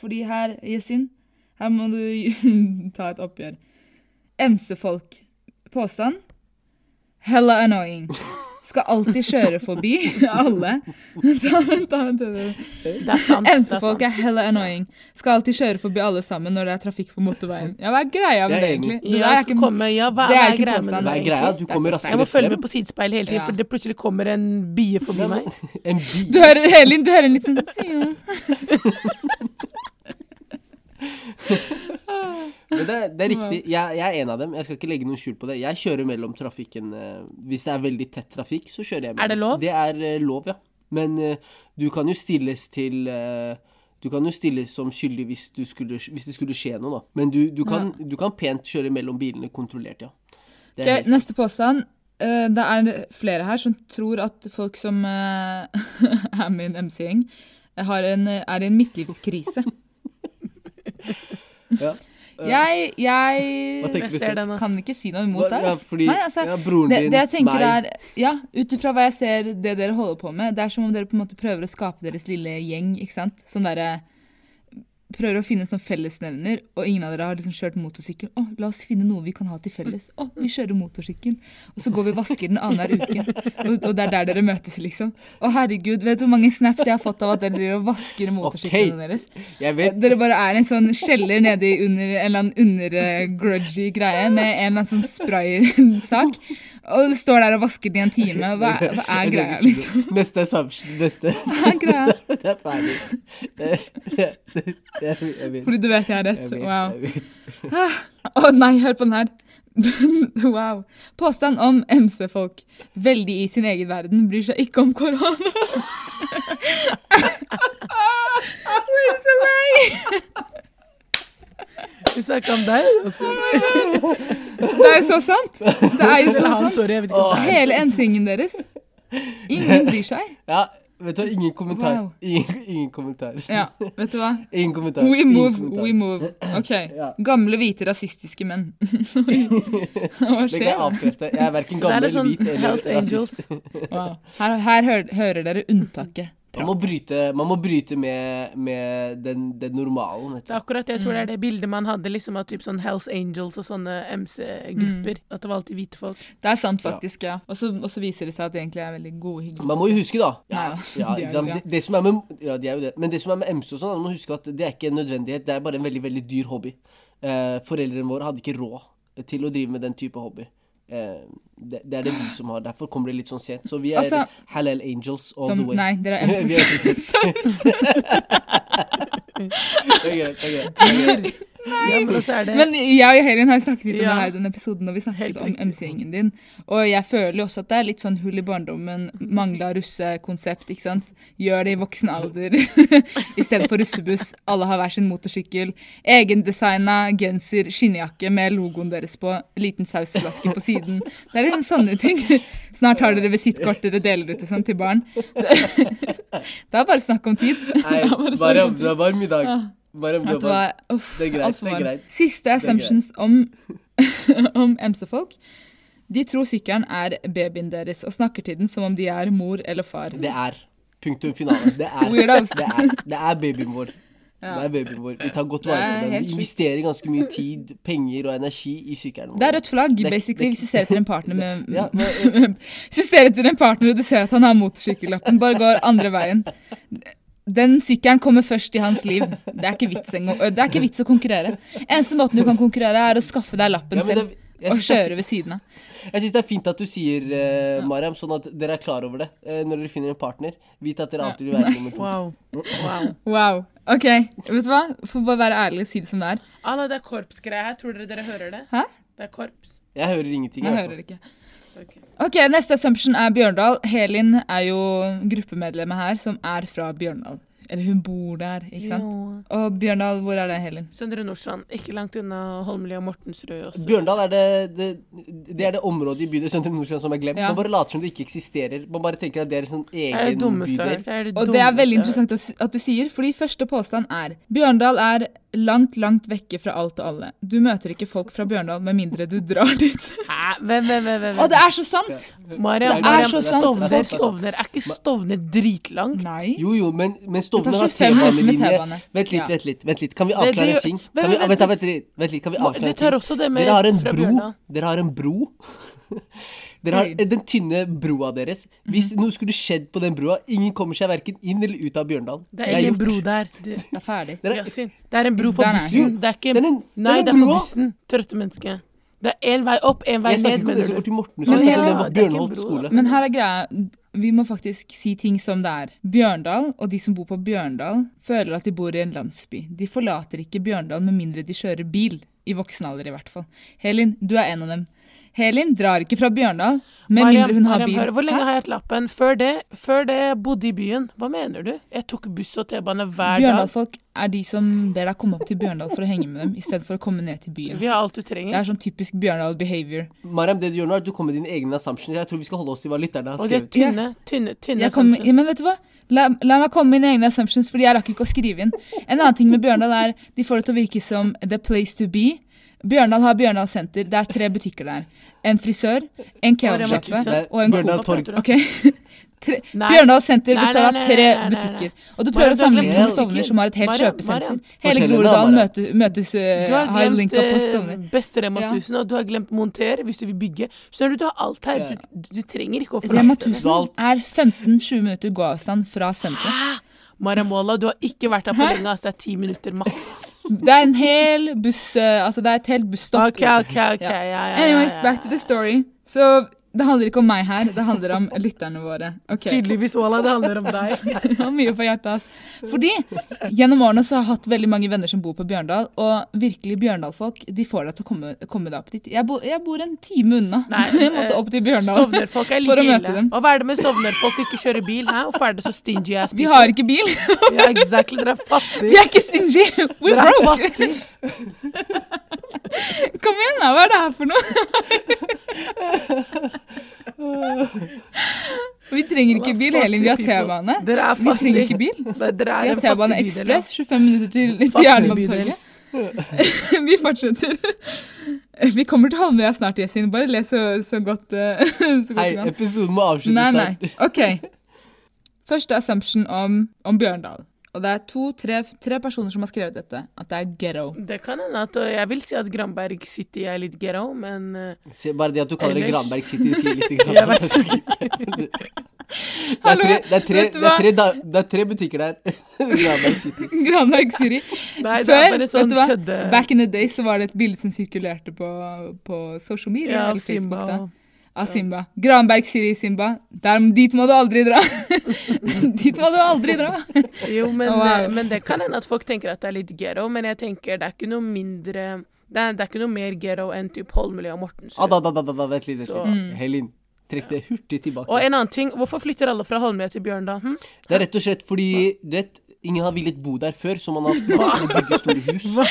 Speaker 1: fordi her, Yesin, her må du ta et oppgjør. MC-folk. Påstand? Hella annoying. Skal alltid kjøre forbi alle. Ta, vent, ta, vent, vent.
Speaker 3: Det er sant. det er sant.
Speaker 1: MC-folk er hella annoying. Skal alltid kjøre forbi alle sammen når det er trafikk på motorveien. Ja, hva er greia med
Speaker 2: Jeg er
Speaker 1: det,
Speaker 2: enig.
Speaker 1: egentlig? Det
Speaker 3: Ja,
Speaker 1: der
Speaker 3: jeg skal komme. Ja, hva,
Speaker 1: det
Speaker 3: hva
Speaker 1: er
Speaker 3: er
Speaker 1: ikke
Speaker 3: greia med
Speaker 1: påstand,
Speaker 3: det?
Speaker 2: Hva er
Speaker 1: egentlig.
Speaker 2: greia? Du
Speaker 1: Det er så feil.
Speaker 2: kommer
Speaker 3: Jeg må
Speaker 2: raskere
Speaker 3: følge
Speaker 2: frem.
Speaker 3: med på sidespeilet hele tiden,
Speaker 1: Ja.
Speaker 3: for det plutselig kommer en bie forbi meg.
Speaker 2: eh, En bil.
Speaker 1: Du hører, Elin, du hører en litt sånn «Sia».
Speaker 2: Men det, er- det er riktig. Jeg, jeg er en av dem. Jeg skal ikke legge noen skjul på det. Jeg kjører mellom trafikken. eh, Hvis det er veldig tett trafikk, så kjører jeg mellom.
Speaker 3: Er det lov?
Speaker 2: Det er eh, lov, ja. Men eh, du kan jo stilles til eh, Du kan jo stilles som skyldig hvis, du skulle, hvis det skulle skje noe, da. Men du, du, kan, du kan pent kjøre mellom bilene kontrollert, ja. Det er
Speaker 1: Ok,
Speaker 2: helt-
Speaker 1: neste påstand. Eh, Det er flere her som tror at folk som eh, er med i en MC-gjeng, har en- er i en midtlivskrise.
Speaker 2: ja.
Speaker 1: Jeg,
Speaker 2: Hva
Speaker 1: jeg
Speaker 2: tenker
Speaker 3: Jeg ser den,
Speaker 1: kan
Speaker 3: ass.
Speaker 1: ikke si noe imot
Speaker 2: Hva-
Speaker 1: deg.
Speaker 2: ja,
Speaker 1: ass.
Speaker 2: fordi-
Speaker 1: Nei, altså,
Speaker 2: ja, broren
Speaker 1: det,
Speaker 2: din,
Speaker 1: det jeg tenker
Speaker 2: meg.
Speaker 1: er, ja, Ut ifra hva jeg ser det dere holder på med, det er som om dere på en måte prøver å skape deres lille gjeng. ikke sant? Sånn derre prøver å finne en sånn fellesnevner, og ingen av dere har liksom kjørt motorsykkel. Å, la oss finne noe vi kan ha til felles. Å, vi kjører motorsykkel. Og så går vi og vasker den annenhver uke. Og, og det er der dere møtes, liksom. Å, herregud, vet du hvor mange snaps jeg har fått av at dere driver og vasker motorsyklene deres?
Speaker 2: Jeg vet
Speaker 1: Eh, Dere bare er en sånn skjeller nedi under en eller annen undergrudgy greie med en eller annen sånn spraysak, og du står der og vasker den i en time. Hva, hva er
Speaker 2: Jeg skal
Speaker 1: greia,
Speaker 2: ikke si det.
Speaker 1: liksom?
Speaker 2: Neste er samskip. Neste.
Speaker 1: Hva er greia?
Speaker 2: Det er ferdig. Det, det, det, det, jeg vet.
Speaker 1: Fordi du vet jeg har
Speaker 2: Jeg
Speaker 1: rett.
Speaker 2: vet,
Speaker 1: Wow.
Speaker 2: jeg vet.
Speaker 1: Å nei, hør på den her. wow. Påstand om MC-folk. Veldig i sin egen verden, bryr seg ikke om korona. We're so lei!
Speaker 3: Vi snakka om deg. Altså.
Speaker 1: Det er jo så sant! Det er jo så
Speaker 3: Eller han,
Speaker 1: sant.
Speaker 3: sorry. Jeg vet ikke. om det er.
Speaker 1: Hele MC-ingen deres. Ingen bryr seg.
Speaker 2: Ja, vet du hva, ingen kommentar.
Speaker 1: Wow.
Speaker 2: Ingen, ingen kommentar.
Speaker 1: Ja, vet du hva?
Speaker 2: Ingen kommentar.
Speaker 1: We
Speaker 2: ingen
Speaker 1: move,
Speaker 2: kommentar.
Speaker 1: we move. OK.
Speaker 2: Ja.
Speaker 1: Gamle, hvite, rasistiske menn. Hva
Speaker 2: Det kan jeg
Speaker 1: skjer?
Speaker 2: avkrefte. Jeg er verken
Speaker 3: Det er
Speaker 2: gammel,
Speaker 3: litt sånn
Speaker 2: hvit eller
Speaker 3: Hells Angels.
Speaker 2: rasist.
Speaker 1: Wow. Her, her hører, hører dere unntaket.
Speaker 2: Man må bryte, man må bryte med, med den, den normalen, vet
Speaker 3: Det er
Speaker 2: du.
Speaker 3: akkurat det, jeg tror det er
Speaker 1: Mm.
Speaker 3: det bildet man hadde liksom, av typ sånn Hells Angels og sånne MC-grupper.
Speaker 1: Mm.
Speaker 3: At det var alltid hvite folk.
Speaker 1: Det er sant, faktisk. ja. Og så og så viser det seg at de egentlig er veldig gode hyggelige.
Speaker 2: Man må jo huske, da.
Speaker 1: Ja,
Speaker 2: Ja,
Speaker 1: de er
Speaker 2: ikke sant?
Speaker 1: jo
Speaker 2: Det, det som er med, ja, de er jo det. Men det som er med MC og sånn, man må huske at det er ikke en nødvendighet. Det er bare en veldig, veldig dyr hobby. Eh, foreldrene våre hadde ikke råd til å drive med den type hobby. Eh, det, det er det vi som har. Derfor kommer det litt sånn sent. Så vi er
Speaker 1: Altså-
Speaker 2: Halal Angels all
Speaker 1: Som,
Speaker 2: the way.
Speaker 1: nei, dere er
Speaker 2: Vi er
Speaker 1: MC.
Speaker 2: Det er greit, det er greit.
Speaker 3: Ja, men også er det
Speaker 1: Men jeg og Helin har jo snakket litt om
Speaker 3: Ja.
Speaker 1: det her i den episoden, og vi snakket
Speaker 3: Helt
Speaker 1: om
Speaker 3: riktig.
Speaker 1: MC-gjengen din. Og jeg føler jo også at det er litt sånn hull i barndommen, mangla russekonsept, ikke sant. Gjør det i voksen alder i stedet for russebuss. Alle har hver sin motorsykkel. Egendesigna genser, skinnjakke med logoen deres på, liten sausflaske på siden. Det er liksom sånne ting. Snart har dere visittkort dere deler ut og sånn til barn. Det, det er bare snakk om tid. Det
Speaker 2: Nei,
Speaker 1: er bare snakk
Speaker 2: Mariam,
Speaker 1: om tid.
Speaker 2: du er varm i dag. Mariam, du
Speaker 1: Vet
Speaker 2: er
Speaker 1: du hva?
Speaker 2: varm.
Speaker 1: Uff,
Speaker 2: Det er greit,
Speaker 1: alt for
Speaker 2: det er
Speaker 1: varm.
Speaker 2: greit.
Speaker 1: Siste assumptions om, om MC-folk. De tror sykkelen er babyen deres og snakker til den som om de er mor eller far.
Speaker 2: Det er. Punktum finale. Det er,
Speaker 1: Weirdos.
Speaker 2: det er, det er babyen vår.
Speaker 1: Ja.
Speaker 2: Det er babyen vår. Vi tar godt
Speaker 1: Det er
Speaker 2: vare på
Speaker 1: helt
Speaker 2: den. Vi
Speaker 1: sjukt.
Speaker 2: investerer ganske mye tid, penger og energi i sykkelen vår.
Speaker 1: Det er rødt flagg,
Speaker 2: Det-
Speaker 1: basically,
Speaker 2: det-
Speaker 1: hvis du ser etter en partner med
Speaker 2: Ja,
Speaker 1: Hvis du ser etter en partner og du ser at han har motorsykkellappen, bare går andre veien. Den sykkelen kommer først i hans liv. Det er ikke vits, engang. Det er ikke vits å konkurrere. Eneste måten du kan konkurrere, er å skaffe deg lappen
Speaker 2: Ja, men
Speaker 1: selv
Speaker 2: det- jeg
Speaker 1: og
Speaker 2: synes det er
Speaker 1: kjøre ved siden av.
Speaker 2: Jeg syns det er fint at du sier eh, Mariam, sånn at dere er klar over det eh, når dere finner en partner. Vit at dere alltid vil være nummer to.
Speaker 3: Wow. wow.
Speaker 1: Wow. OK, vet du hva? Får bare være ærlig og si det som det er.
Speaker 3: Anna, det er korpsgreier her. Tror dere dere hører det?
Speaker 1: Hæ?
Speaker 3: Det er korps.
Speaker 2: Jeg hører ingenting. i
Speaker 1: Jeg
Speaker 2: hvert
Speaker 1: hører ikke.
Speaker 3: Ok.
Speaker 1: OK, neste assumption er Bjørndal. Helin er jo gruppemedlemmet her som er fra Bjørndal. Eller hun bor der, ikke sant? Og Bjørndal, hvor er det, Helin?
Speaker 3: Søndre Nordstrand, ikke langt unna Holmlia og Mortensrud
Speaker 2: fall.
Speaker 3: også.
Speaker 2: Bjørndal er det, det, det er det området i bydel Søndre Nordstrand som er glemt.
Speaker 1: Ja.
Speaker 2: Man bare later som det ikke eksisterer. Man bare tenker at det er en sånn
Speaker 3: Det er
Speaker 2: egen
Speaker 3: det dummeste
Speaker 2: bydel.
Speaker 3: jeg har hørt. Det er det
Speaker 1: Og det er
Speaker 3: dummeste
Speaker 1: veldig
Speaker 3: jeg har hørt.
Speaker 1: interessant å s- at du sier, fordi første påstand er Bjørndal er langt, langt vekke fra alt og alle. Du møter ikke folk fra Bjørndal med mindre du drar dit.
Speaker 3: Hæ? Hvem, hvem, hvem? hvem?
Speaker 1: Og det er så sant!
Speaker 3: Mariam,
Speaker 2: Det er
Speaker 3: Mariam,
Speaker 1: så sant.
Speaker 2: Det
Speaker 3: Stovner,
Speaker 2: er sant.
Speaker 3: Stovner. Er ikke Stovner dritlangt?
Speaker 1: Nei.
Speaker 2: Jo, jo, men, men Stovner
Speaker 1: Det tar 25
Speaker 2: har
Speaker 1: minutter med
Speaker 2: T-banelinje.
Speaker 1: T-bane.
Speaker 2: Vent
Speaker 1: Ja.
Speaker 2: litt, vent litt. vent litt Kan vi
Speaker 3: det
Speaker 2: avklare
Speaker 3: gjør-
Speaker 2: en ting?
Speaker 3: Men
Speaker 2: Kan vi,
Speaker 3: vent,
Speaker 2: vent, da, vent, litt, vent litt, kan vi avklare
Speaker 3: Det
Speaker 2: en ting?
Speaker 3: tar også det med
Speaker 2: Dere har en
Speaker 3: fra
Speaker 2: bro.
Speaker 3: Bjørndal.
Speaker 2: Dere har en bro. Dere har den tynne broa deres. Hvis
Speaker 3: Mhm.
Speaker 2: noe skulle skjedd på den broa, ingen kommer seg verken inn eller ut av Bjørndal.
Speaker 3: Det
Speaker 2: Det
Speaker 3: er
Speaker 2: er
Speaker 3: ingen
Speaker 2: gjort.
Speaker 3: bro der. Det,
Speaker 1: Det er ferdig.
Speaker 2: Dere-
Speaker 3: Yasin, det er en bro for
Speaker 1: Den er-
Speaker 3: bussen. Det er ikke
Speaker 2: Den er- den
Speaker 3: Nei,
Speaker 2: er
Speaker 3: det er for
Speaker 2: broa.
Speaker 3: bussen. Trøtte menneske. Det er én vei opp, én vei
Speaker 2: Jeg snakker ikke
Speaker 3: ned,
Speaker 2: om det som går
Speaker 3: mener du.
Speaker 2: til Morten,
Speaker 1: Men
Speaker 2: jeg snakker
Speaker 1: ja,
Speaker 2: om det
Speaker 3: det er
Speaker 2: på
Speaker 3: ikke en
Speaker 2: Bjørnholt
Speaker 3: bro,
Speaker 2: skole.
Speaker 1: Men her er greia. Vi må faktisk si ting som det er. Bjørndal og de som bor på Bjørndal, føler at de bor i en landsby. De forlater ikke Bjørndal med mindre de kjører bil. I voksen alder, i hvert fall. Helin, du er en av dem. Helin drar ikke fra Bjørndal med
Speaker 3: Mariam,
Speaker 1: mindre hun har
Speaker 3: Mariam,
Speaker 1: bil.
Speaker 3: hør, hvor lenge
Speaker 1: Hæ?
Speaker 3: har jeg hatt lappen? Før det, før det jeg bodde i byen. Hva mener du? Jeg tok buss og T-bane hver dag.
Speaker 1: Bjørndalfolk er de som ber deg komme opp til Bjørndal for å henge med dem, i stedet for å komme ned til byen.
Speaker 3: Vi har alt du
Speaker 1: Det
Speaker 3: trenger.
Speaker 1: er sånn typisk Bjørndal behavior.
Speaker 2: Mariam, det du gjør nå, er at du kommer med dine egne assumptions. Jeg tror vi skal holde oss til hva lytterne har
Speaker 3: Og de er
Speaker 2: skrevet.
Speaker 3: tynne, tynne, tynne sånn-
Speaker 1: Jeg kom, ja,
Speaker 3: assumptions.
Speaker 1: men vet du hva? La, la meg komme med mine egne assumptions, fordi jeg rakk ikke å skrive inn. En annen ting med Bjørndal er de får det til å virke som the place to be. Bjørndal har Bjørndal senter. Det er tre butikker der. En frisør, en
Speaker 3: Mariam, hva
Speaker 1: kebabsjappe
Speaker 3: tusen.
Speaker 1: og en
Speaker 2: Bjørndal
Speaker 1: Coop.
Speaker 2: Torg.
Speaker 1: Ok. Tre,
Speaker 3: Nei.
Speaker 1: Bjørndal senter
Speaker 3: Nei,
Speaker 1: består av
Speaker 3: nei, nei,
Speaker 1: tre
Speaker 3: nei, nei, nei.
Speaker 1: butikker. Og du prøver å
Speaker 3: Mariam, du har
Speaker 1: sammenligne
Speaker 2: glemt
Speaker 1: to Stovner
Speaker 3: butikker.
Speaker 1: som har et helt
Speaker 3: Mariam,
Speaker 1: kjøpesenter.
Speaker 3: Mariam.
Speaker 1: Hele
Speaker 2: Fortell henne da,
Speaker 1: Groruddalen
Speaker 2: Mariam.
Speaker 1: møtes, møtes eh,
Speaker 3: Du har
Speaker 1: har
Speaker 3: glemt
Speaker 1: linka på Stovner.
Speaker 3: eh, beste Rema
Speaker 1: Ja.
Speaker 3: 1000, og du har glemt Monter hvis du vil bygge. Skjønner du, du har alt her. Du, du, du trenger ikke å
Speaker 1: Rema
Speaker 3: forlate det.
Speaker 1: 1000 er 15-20 minutter gåavstand fra senteret.
Speaker 3: Hæ? Maramola, du har ikke vært her på lenge, altså det er ti minutter maks.
Speaker 1: Det er en hel buss eh, Altså, det er et helt busstopp.
Speaker 3: Ok, ok, ok. Ja, ja, ja,
Speaker 1: Anyways,
Speaker 3: ja,
Speaker 1: back to the story. Så det handler ikke om meg her, det handler om lytterne våre. Ok,
Speaker 3: Tydeligvis, Ola, det handler om deg.
Speaker 1: Jeg har mye på hjertet. ass. Fordi gjennom årene så har jeg hatt veldig mange venner som bor på Bjørndal, og virkelig Bjørndal-folk de får deg til å komme, komme deg opp dit. Jeg, bo, jeg bor en time unna.
Speaker 3: Nei,
Speaker 1: jeg måtte
Speaker 3: eh,
Speaker 1: opp til Bjørndal.
Speaker 3: Stovnerfolk er
Speaker 1: For å
Speaker 3: like
Speaker 1: møte
Speaker 3: ille.
Speaker 1: dem.
Speaker 3: Og hva er det med stovnerfolk og ikke kjøre bil? Hæ? Hvorfor er det så stingy ass
Speaker 1: Vi har ikke bil.
Speaker 3: people? Ja, exactly, dere er
Speaker 1: Vi
Speaker 3: fattige.
Speaker 1: er ikke stingy. We
Speaker 3: Dere er
Speaker 1: broke.
Speaker 3: fattige.
Speaker 1: Kom igjen, da. Hva er det her for noe? Vi trenger ikke bil, Elin. Vi har
Speaker 3: Fattige people.
Speaker 1: T-bane.
Speaker 3: Dere er
Speaker 1: Vi trenger ikke
Speaker 3: fattige.
Speaker 1: bil.
Speaker 3: Nei,
Speaker 1: Vi
Speaker 3: Dere er
Speaker 1: har
Speaker 3: en fattig
Speaker 1: T-bane
Speaker 3: bydel. ja.
Speaker 1: Ekspress 25 minutter til, til
Speaker 3: Fattig
Speaker 1: Jernbanetorget. Vi fortsetter. Vi kommer til Holmlia snart, Jessin. Bare les så, så godt eh, så godt
Speaker 2: Hei,
Speaker 1: du kan.
Speaker 2: episoden må avsluttes
Speaker 1: Nei,
Speaker 2: snart.
Speaker 1: nei. OK. Første assumption om, om Bjørndal. Og det er to, tre, tre personer som har skrevet dette. At det er ghetto.
Speaker 3: Det kan hende at og Jeg vil si at Granberg City er litt ghetto, men eh,
Speaker 2: Se, bare det at du kaller det
Speaker 3: Ellers-
Speaker 2: Granberg City, sier litt. Grann,
Speaker 3: Jeg vet
Speaker 2: altså. det, er
Speaker 1: Hallo,
Speaker 2: tre, det, er tre,
Speaker 1: vet du
Speaker 2: det, er
Speaker 1: hva?
Speaker 2: tre, da- det er tre butikker der. Granberg City.
Speaker 1: Granberg Siri.
Speaker 3: Nei, det er
Speaker 1: Før,
Speaker 3: bare
Speaker 1: vet
Speaker 3: sånn
Speaker 1: du hva,
Speaker 3: kødde...
Speaker 1: back in the day så var det et bilde som sirkulerte på, på social media.
Speaker 3: Ja,
Speaker 1: eller Facebook,
Speaker 3: Simba
Speaker 1: da.
Speaker 3: og
Speaker 1: av Simba. Granberg sier i Simba der, dit må du aldri dra. dit må du aldri dra.
Speaker 3: Jo, men,
Speaker 1: Wow.
Speaker 3: eh, men det kan hende at folk tenker at det er litt ghetto, men jeg tenker det er ikke noe mindre Det er, det er ikke noe mer ghetto enn typ Holmlia og Mortensrud.
Speaker 2: Ah, da, da, da, da, da, vent litt. Vent
Speaker 3: Så-
Speaker 2: litt. Helin, trekk det hurtig tilbake.
Speaker 3: Og en annen ting, hvorfor flytter alle fra Holmlia til Bjørndal? Hm?
Speaker 2: Det er rett og slett fordi du vet, ingen har villet bo der før, så man har plass til å bygge store hus. Så,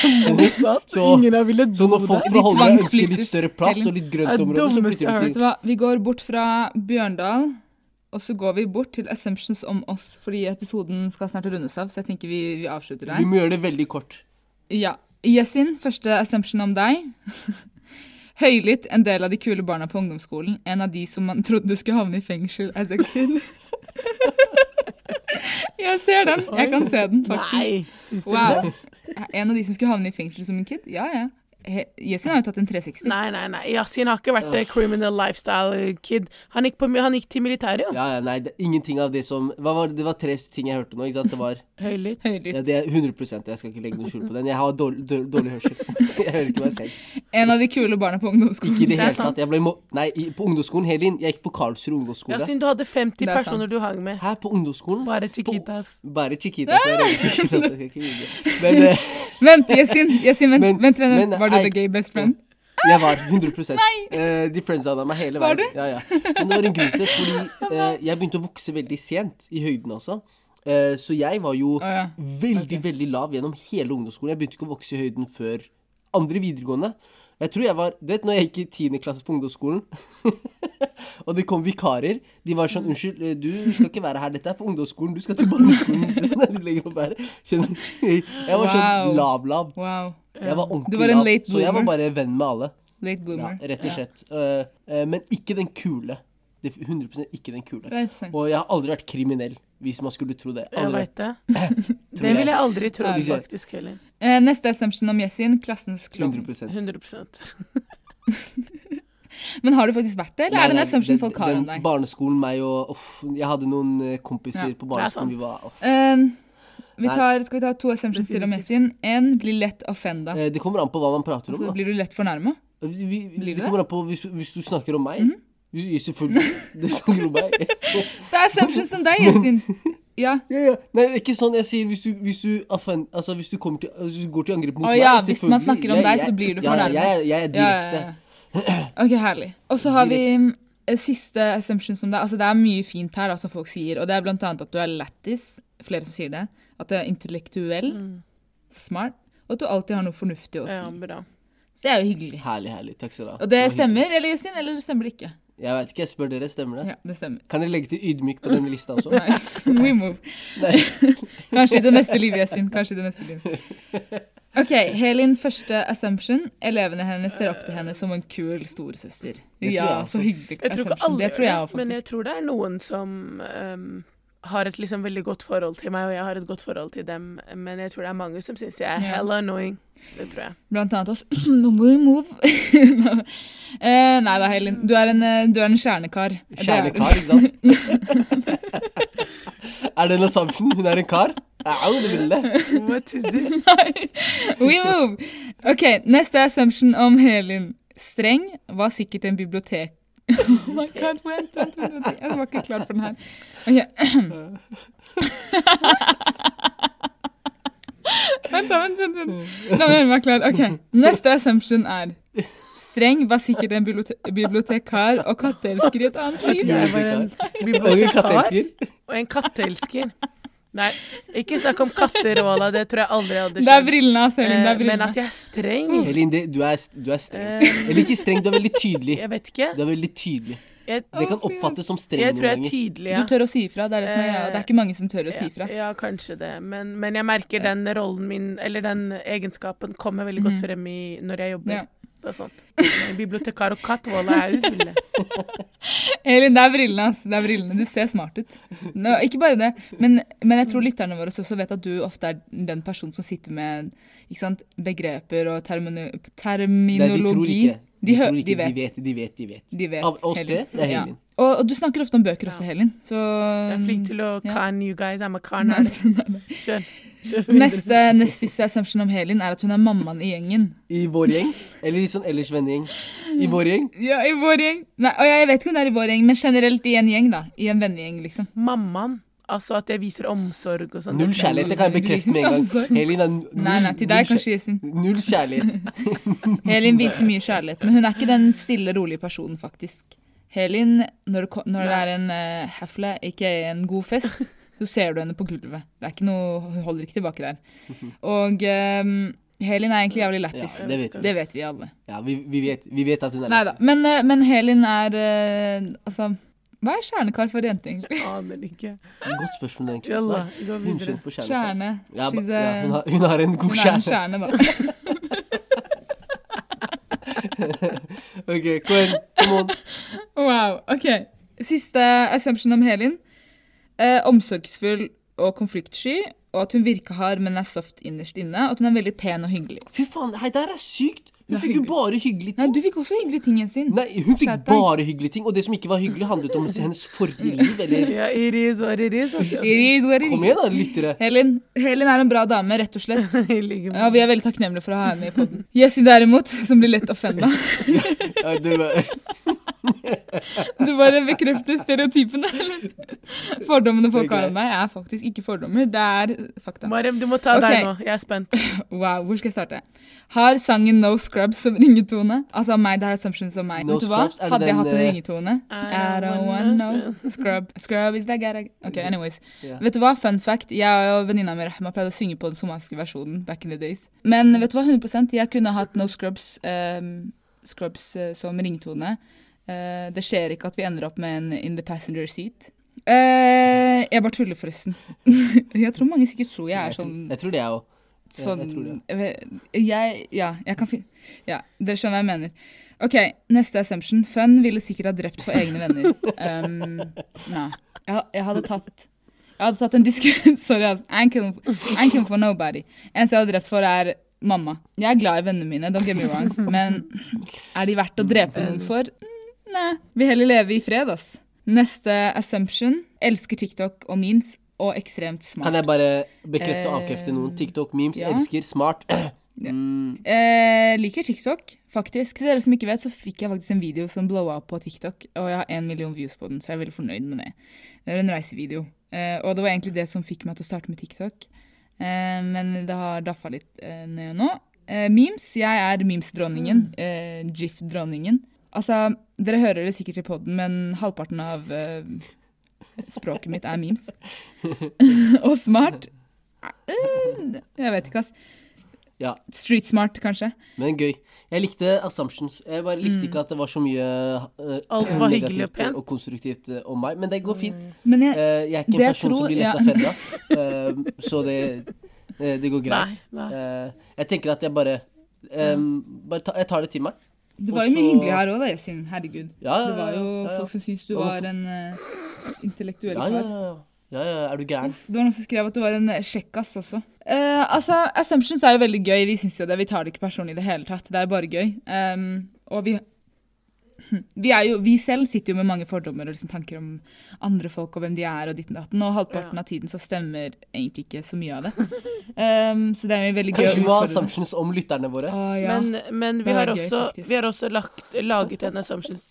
Speaker 2: så,
Speaker 3: har villet
Speaker 2: så når folk
Speaker 1: De
Speaker 2: fra Holmlia ønsker
Speaker 1: tvangsflyttes,
Speaker 2: litt større plass
Speaker 1: Helin.
Speaker 2: og litt
Speaker 3: Det
Speaker 2: grønt
Speaker 3: er
Speaker 2: område, så
Speaker 3: dummeste jeg
Speaker 2: flytter de
Speaker 3: har
Speaker 1: Vet
Speaker 2: til
Speaker 1: du hva, vi går bort fra Bjørndal, og så går vi bort til assumptions om oss, fordi episoden skal snart rundes av, så jeg tenker vi, vi avslutter
Speaker 2: Vi
Speaker 1: der.
Speaker 2: må gjøre det veldig kort.
Speaker 1: Ja. Yesin, første assumption om deg. Høylytt, en del av de kule barna på ungdomsskolen. En av de som man trodde skulle havne i fengsel as a kid. Jeg ser den. Jeg kan se den, faktisk.
Speaker 3: Nei! Syns du
Speaker 1: Wow.
Speaker 3: det?
Speaker 1: En av de som skulle havne i fengsel som en kid? Ja, ja. He- Yesin har jo tatt en 360.
Speaker 3: Nei, nei, nei. Yasin har ikke vært eh, criminal lifestyle kid. Han gikk, på, mi- han gikk til militæret, jo.
Speaker 2: Ja, ja, nei, det, ingenting av det som hva var, det- Det var tre ting jeg hørte nå, ikke sant? Det var
Speaker 3: Høylytt.
Speaker 2: ja,
Speaker 1: Høylytt.
Speaker 2: det er 100 Jeg skal ikke legge noe skjul på den. Jeg har dårlig, dårlig, dårlig hørsel. Jeg hører ikke meg selv.
Speaker 1: En av de kule barna på
Speaker 2: Ikke i
Speaker 1: ungdomsskolen.
Speaker 2: det
Speaker 3: er
Speaker 2: hele
Speaker 3: sant.
Speaker 2: tatt. Jeg ble mo nei, i, på ungdomsskolen, Helin. Jeg gikk på Karlsrud ungdomsskole.
Speaker 3: Yasin, du hadde
Speaker 1: Det
Speaker 3: 50
Speaker 1: er
Speaker 3: personer du hang med.
Speaker 2: Hæ, på ungdomsskolen?
Speaker 3: Bare Chiquitas.
Speaker 2: Bare Chiquita, så jeg redder Chiquita, så jeg skal ikke ljuge. Men eh,
Speaker 1: Vent, Yesin, Yesin vent,
Speaker 2: Men-
Speaker 1: vent, vent,
Speaker 2: men-
Speaker 1: vent. Var du
Speaker 2: ei-
Speaker 1: the gay best friend?
Speaker 2: jeg var 100 Eh, De friendsana meg hele
Speaker 1: Var
Speaker 2: veien. Ja, ja. Men det var en grunn til det, fordi eh, jeg begynte å vokse veldig sent, i høyden altså. Eh, så jeg var jo
Speaker 1: Å, ja.
Speaker 2: veldig, veldig lav gjennom hele ungdomsskolen. Jeg begynte ikke å vokse i høyden før andre videregående. Jeg tror jeg var, du vet når jeg gikk i 10. klasse på ungdomsskolen, og det kom vikarer, de var sånn, unnskyld, eh, du skal ikke være her, dette er på ungdomsskolen, du skal til barneskolen, den er litt lenger opp her. Skjønner du? Jeg var
Speaker 1: Wow.
Speaker 2: sånn lav-lav.
Speaker 1: Wow.
Speaker 2: Jeg var ordentlig
Speaker 1: Du var en
Speaker 2: lav,
Speaker 1: late
Speaker 2: så jeg var
Speaker 1: bloomer.
Speaker 2: bare venn med alle.
Speaker 1: Late
Speaker 2: Ja,
Speaker 1: bloomer.
Speaker 2: rett og slett. Eh, eh, men ikke den kule. Det er 100 ikke den kule.
Speaker 1: Det er interessant.
Speaker 2: Og jeg har aldri vært kriminell, hvis man skulle tro det.
Speaker 3: Jeg
Speaker 2: Aldri.
Speaker 3: veit det. Det ville jeg aldri trodd,
Speaker 2: Ja.
Speaker 3: faktisk, heller.
Speaker 1: Eh, Neste assumption om Yesin, klassens klovn.
Speaker 2: 100
Speaker 3: 100
Speaker 1: Men har du faktisk vært det, eller er det en
Speaker 2: Nei, nei,
Speaker 1: assumption
Speaker 2: den-
Speaker 1: folk har
Speaker 2: den
Speaker 1: om deg?
Speaker 2: Barneskolen, meg og uff, Jeg hadde noen eh, kompiser
Speaker 1: Ja,
Speaker 2: på
Speaker 3: det er
Speaker 2: barneskolen.
Speaker 3: sant.
Speaker 2: Vi var, uff.
Speaker 1: Eh, vi
Speaker 2: Nei.
Speaker 1: tar, skal vi ta to assumptions til om Yesin? En blir lett offenda.
Speaker 2: Eh, Det kommer an på hva man prater om.
Speaker 1: Så
Speaker 2: Da.
Speaker 1: Altså, blir du lett fornærma.
Speaker 2: Vi, vi,
Speaker 1: blir
Speaker 2: det
Speaker 1: det? Mhm.
Speaker 2: kommer an på hvis, hvis du snakker om meg. Jo, Selvfølgelig. Du snakker om meg.
Speaker 1: Det er assumptions om deg, Yesin. Ja.
Speaker 2: Ja, ja. Nei, det er ikke sånn jeg sier hvis du, hvis du, offend, altså, hvis du, kommer til, altså, hvis du går til angrep mot
Speaker 1: Å
Speaker 2: meg.
Speaker 1: ja, hvis man
Speaker 2: selvfølgelig.
Speaker 1: snakker om
Speaker 2: Jeg-
Speaker 1: deg,
Speaker 2: jeg-
Speaker 1: så blir du
Speaker 2: ja, ja,
Speaker 1: fornærmet.
Speaker 2: Jeg, jeg er direkte.
Speaker 1: ja, ja. Ok, herlig. Og så har vi mm, siste assumption som det er. Altså, det er mye fint her da, som folk sier, og det er blant annet at du er lættis, flere som sier det, at du er intellektuell, smart, og at du alltid har noe fornuftig å si.
Speaker 3: Ja, bra.
Speaker 1: Så det er jo hyggelig.
Speaker 2: Herlig, herlig. Takk skal du ha.
Speaker 1: Og det
Speaker 2: var hyggelig.
Speaker 1: stemmer, eller Yesin, eller stemmer det ikke?
Speaker 2: Jeg vet ikke, jeg spør dere. Stemmer det?
Speaker 1: Ja, det stemmer.
Speaker 2: Kan dere legge til ydmyk på den lista også?
Speaker 1: Nei, we move. Kanskje i det neste livet, Yesin. Kanskje i det neste livet. OK, Helin første assumption. Elevene hennes ser opp til henne som en kul storesøster.
Speaker 2: tror jeg
Speaker 1: Ja,
Speaker 2: også.
Speaker 1: så hyggelig.
Speaker 3: Jeg tror ikke
Speaker 1: assumption.
Speaker 3: alle
Speaker 1: det tror jeg også,
Speaker 3: men jeg
Speaker 1: faktisk.
Speaker 3: tror det er noen som ehm, har et liksom veldig godt forhold til meg, og jeg har et godt forhold til dem, men jeg tror det er mange som syns jeg er
Speaker 1: Ja.
Speaker 3: hella annoying. Det tror jeg.
Speaker 1: Blant annet oss. Move, move. eh, nei da, Helin. Du er en, eh, du er en kjernekar. Det er du.
Speaker 2: Kjernekar, ikke sant? er det en assumption? Hun er en kar? Au, det ville.
Speaker 3: What is this?
Speaker 1: Nei. We move. OK, neste assumption om Helin. Streng var sikkert en bibliotek... Oh my god, vent, vent, vent, vent. Jeg var ikke klar for den her. Ok. vent, da, vent, vent, vent. La meg gjøre meg klar. OK. Neste assumption er Streng var sikkert en bibliote bibliotekar og katteelsker i et annet liv.
Speaker 3: Jeg var en
Speaker 2: Unge
Speaker 3: bibliotekar
Speaker 2: katteelsker.
Speaker 3: og en katteelsker. Nei, ikke snakk om katter, Ola. Det tror jeg aldri hadde
Speaker 1: Det er brillene hans, Helin. Det
Speaker 3: Eh,
Speaker 1: er
Speaker 3: Men
Speaker 1: brillene.
Speaker 3: at jeg er streng
Speaker 1: Mm.
Speaker 2: Elin, det- du er, du er streng.
Speaker 3: Eh,
Speaker 2: Eller ikke streng, du er veldig tydelig.
Speaker 3: Jeg vet ikke.
Speaker 2: Du er veldig tydelig.
Speaker 3: Jeg,
Speaker 2: Det kan
Speaker 1: Å, fy.
Speaker 2: oppfattes som streng
Speaker 3: jeg tror jeg
Speaker 2: noen ganger.
Speaker 3: er tydelig,
Speaker 1: Du
Speaker 3: ja.
Speaker 1: tør å si ifra. Det er, det som er, greia. det er ikke mange som tør å si ifra.
Speaker 3: Eh, Ja, Eh, kanskje det. Men, men jeg merker den rollen min, eller den egenskapen, kommer veldig godt frem i, når jeg jobber.
Speaker 1: Mm. Ja.
Speaker 3: Det er sant. Men Bibliotekar og katt, voilà, jeg er ufille.
Speaker 1: Elin, det er brillene, ass. Det er brillene. Du ser smart ut. Nå, ikke bare det, men, men jeg tror lytterne våre også vet at du ofte er den personen som sitter med ikke sant, begreper og termino
Speaker 2: Nei, de tror
Speaker 1: terminologi.
Speaker 2: ikke. De,
Speaker 1: hø-
Speaker 2: tror ikke.
Speaker 1: de vet.
Speaker 2: de vet, de vet.
Speaker 1: De vet,
Speaker 2: Av oss tre,
Speaker 1: Helin.
Speaker 2: det er Helin.
Speaker 1: Ja. Og, og du snakker ofte om bøker også, Helin. Så
Speaker 3: Jeg er flink til å
Speaker 1: Ja.
Speaker 3: can you guys, I'm a can artist. Kjør. Kjør videre.
Speaker 1: um, Neste, nest siste assumption om Helin er at hun er mammaen i gjengen.
Speaker 2: I vår gjeng, eller litt sånn ellers vennegjeng. I vår gjeng.
Speaker 1: Ja, i vår gjeng. Nei, og jeg vet ikke om det er i vår gjeng, men generelt i en gjeng, da. I en vennegjeng, liksom.
Speaker 3: Mammaen. Altså at jeg viser omsorg og sånn.
Speaker 2: Null kjærlighet, det kan jeg bekrefte med en gang. Helin er null,
Speaker 1: Nei, nei, til deg
Speaker 2: null
Speaker 1: kanskje, Isin.
Speaker 2: kjær- Null kjærlighet.
Speaker 1: Helin viser mye kjærlighet, men hun er ikke den stille, rolige personen, faktisk. Helin, når det, ko- når det er en eh, hefle, ikke en god fest, så ser du henne på gulvet. Det er ikke noe, Hun holder ikke tilbake der. Og eh, Helin er egentlig jævlig
Speaker 2: Ja,
Speaker 1: lættis.
Speaker 2: det vet vi.
Speaker 1: det vet vi alle.
Speaker 2: Ja, vi, vi, vet, vi vet at hun er
Speaker 1: Neida, Men, eh, men Helin er eh, Altså, hva er kjernekar for jente, egentlig?
Speaker 3: Aner ikke.
Speaker 2: Godt spørsmål, egentlig.
Speaker 3: Jalla,
Speaker 2: Nei,
Speaker 3: gå videre.
Speaker 2: Unnskyld for kjærlighet.
Speaker 1: Kjerne.
Speaker 2: Ja, ba-
Speaker 1: She's
Speaker 2: ja,
Speaker 1: a-
Speaker 2: hun, har, hun har en god
Speaker 1: hun er en
Speaker 2: kjerne.
Speaker 1: kjerne, da.
Speaker 2: Ok, kom igjen. Come on.
Speaker 1: Wow, ok. Siste assumption om Helin. Eh, omsorgsfull og konfliktsky, og at hun virker hard, men er soft innerst inne. Og at hun er veldig pen og hyggelig.
Speaker 2: Fy faen, hei, det her er sykt! Hun
Speaker 1: Det er
Speaker 2: fikk jo
Speaker 1: hyggelig.
Speaker 2: bare hyggelige
Speaker 1: Nei,
Speaker 2: ting.
Speaker 1: du fikk også hyggelige ting, Jensin.
Speaker 2: Nei, hun fikk
Speaker 1: Skjerp deg.
Speaker 2: bare hyggelige ting, og det som ikke var hyggelig, handlet om hennes forrige liv, eller
Speaker 3: Ja, Iris var Iris. Altså.
Speaker 1: It is what it
Speaker 2: Kom
Speaker 1: is.
Speaker 2: igjen, da, lyttere.
Speaker 1: Helin, Helin er en bra dame, rett og slett.
Speaker 3: I
Speaker 1: Ja,
Speaker 3: like måte.
Speaker 1: Vi er veldig takknemlige for å ha henne i poden. Jessi derimot, som blir lett offenda.
Speaker 2: Ja, du,
Speaker 1: Du bare bekrefter stereotypene. eller? Fordommene folk har
Speaker 2: Det er greit.
Speaker 1: om deg, er faktisk ikke fordommer, det er fakta.
Speaker 3: Mariam, du må ta
Speaker 1: Ok.
Speaker 3: deg nå. Jeg er spent.
Speaker 1: Wow, hvor skal jeg starte? Har sangen No Scrubs som ringetone? Altså meg, det er assumptions om meg.
Speaker 2: No
Speaker 1: Vet du hva?
Speaker 2: Scrubs, er det
Speaker 1: Hadde jeg
Speaker 2: den,
Speaker 1: hatt en
Speaker 2: eh,
Speaker 1: ringetone? I don't want no scrub. Scrub is that guy Ok, anyways.
Speaker 2: Ja.
Speaker 1: Vet du hva? Fun fact, jeg og venninna mi Rahma pleide å synge på den somaliske versjonen back in the days. Men vet du hva? 100 jeg kunne hatt No Scrubs, ehm, scrubs eh, som ringetone. Eh, det skjer ikke at vi ender opp med en In the passenger seat. Eh, jeg bare tuller, forresten. jeg tror mange sikkert tror jeg er
Speaker 2: Jeg, tror,
Speaker 1: sånn
Speaker 2: jeg tror det, jeg òg. Ja,
Speaker 1: sånn
Speaker 2: jeg tror det.
Speaker 1: jeg, Ja, jeg kan finne Ja, dere skjønner hva jeg mener. OK, neste assumption. Fun ville sikkert ha drept for egne venner. Um, nei. Jeg, jeg hadde tatt Jeg hadde tatt en diskusjon Sorry, altså. I'm killing, I'm killing for nobody. Eneste jeg hadde drept for, er mamma. Jeg er glad i vennene mine, don't get me wrong, men er de verdt å drepe noen for? Mm, Nei. Vil heller leve i fred, ass. Neste assumption. Elsker TikTok og memes og ekstremt smart.
Speaker 2: Kan jeg bare bekrefte og
Speaker 1: Eh,
Speaker 2: avkrefte noen? TikTok-memes,
Speaker 1: ja.
Speaker 2: elsker, smart.
Speaker 1: Eh, liker TikTok, faktisk. Til dere som ikke vet, så fikk jeg faktisk en video som blowa opp på TikTok, og jeg har én million views på den, så jeg er veldig fornøyd med det. Det er en reisevideo. Eh, og det var egentlig det som fikk meg til å starte med TikTok. Eh, men det har daffa litt eh, ned nå. Eh, memes. Jeg er memes-dronningen. Eh, GIF-dronningen. Altså, dere hører det sikkert i poden, men halvparten av eh, språket mitt er memes. og smart. Eh, Jeg vet ikke, ass.
Speaker 2: Ja,
Speaker 1: Street smart, kanskje.
Speaker 2: men gøy. Jeg likte assumptions. Jeg bare likte
Speaker 1: Mm.
Speaker 2: ikke at det var så mye eh,
Speaker 3: Alt var hyggelig og
Speaker 2: negativt
Speaker 3: pent.
Speaker 2: og konstruktivt eh, om meg, men det går fint.
Speaker 1: Men jeg,
Speaker 2: Eh, jeg er ikke en
Speaker 1: Mm. Det
Speaker 2: person
Speaker 1: tror-
Speaker 2: som blir lett
Speaker 1: ja.
Speaker 2: av fella, eh, så det Eh, Det går greit.
Speaker 3: Nei, nei.
Speaker 2: Eh, Jeg tenker at jeg bare, em, bare ta, Jeg tar det til meg.
Speaker 1: Det var jo mye
Speaker 2: Og så-
Speaker 1: hyggelig her òg, da, Yasin. Herregud.
Speaker 2: Ja, ja,
Speaker 1: Det var jo
Speaker 2: ja, ja, ja.
Speaker 1: folk som syntes du
Speaker 2: Ja,
Speaker 1: var en eh, intellektuell
Speaker 2: Ja,
Speaker 1: kar.
Speaker 2: ja, ja. ja, ja er du gæren?
Speaker 1: Det var noen som skrev at du var en eh, kjekkas også. Eh, altså, Assumptions er jo veldig gøy. Vi syns jo det. Vi tar det ikke personlig i det hele tatt. Det er jo bare gøy. Ehm, og vi, vi, er jo, vi selv sitter jo med mange fordommer og liksom tanker om andre folk og hvem de er og ditten og datten, og halvparten
Speaker 3: Ja.
Speaker 1: av tiden så stemmer egentlig ikke så mye av det. Ehm, så det er jo veldig gøy. å
Speaker 2: Kanskje vi må ha
Speaker 1: utfordre det.
Speaker 2: assumptions om lytterne våre?
Speaker 1: Å, ja.
Speaker 3: Men, men vi,
Speaker 1: Det
Speaker 3: har
Speaker 1: var gøy,
Speaker 3: også,
Speaker 1: faktisk.
Speaker 3: vi har også lagt, laget en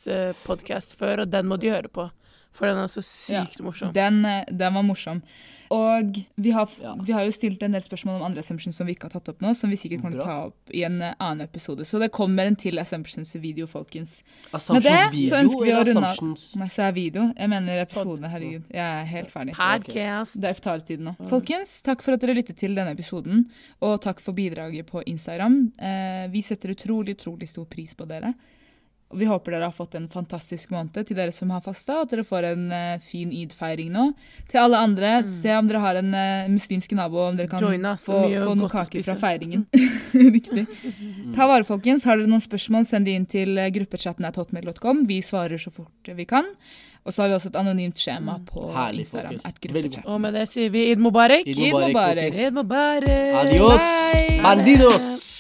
Speaker 3: Assumptions-podkast før, og den må de høre på. For den er så sykt morsom.
Speaker 1: Den, eh, den var morsom. Og vi har, f-
Speaker 2: Ja.
Speaker 1: vi har jo stilt en del spørsmål om andre assumptions som vi ikke har tatt opp nå, som vi sikkert kommer til å
Speaker 2: Bra.
Speaker 1: ta opp i en eh, annen episode. Så det kommer en til assumptions-video, folkens.
Speaker 2: Assumptions video
Speaker 1: ønsker vi å
Speaker 2: eller
Speaker 1: runde av.
Speaker 2: assumptions
Speaker 1: Nei, så er video. Jeg mener episodene, herregud. Jeg er helt ferdig.
Speaker 3: Podcast.
Speaker 1: Det er iftartiden nå. Folkens, takk for at dere lyttet til denne episoden, og takk for bidraget på Instagram. Eh, vi setter utrolig, utrolig stor pris på dere. Og vi håper dere har fått en fantastisk måned til dere som har fasta, og at dere får en eh, fin id-feiring nå. Til alle andre, se om dere har en eh, muslimsk nabo, om dere kan
Speaker 3: Mm. Join us,
Speaker 1: få,
Speaker 3: mye
Speaker 1: få noen
Speaker 3: godt å
Speaker 1: kaker fra
Speaker 3: spise.
Speaker 1: feiringen. Riktig. Ta vare, folkens. Har dere noen spørsmål, send de inn til eh, gruppechatten at hotmail.com. Vi svarer så fort vi kan. Og så har vi også et anonymt skjema
Speaker 3: Mm.
Speaker 1: på
Speaker 2: Herlig,
Speaker 1: Instagram.
Speaker 2: folkens.
Speaker 1: At
Speaker 2: Veldig bra.
Speaker 1: gruppechat.
Speaker 3: Og med det sier vi id mubarak.
Speaker 2: Id
Speaker 1: Id
Speaker 2: Mubarak,
Speaker 3: É
Speaker 1: Mubarak.
Speaker 2: folkens.
Speaker 3: Id mubarak.
Speaker 2: Adios,
Speaker 1: Bye.
Speaker 2: bandidos!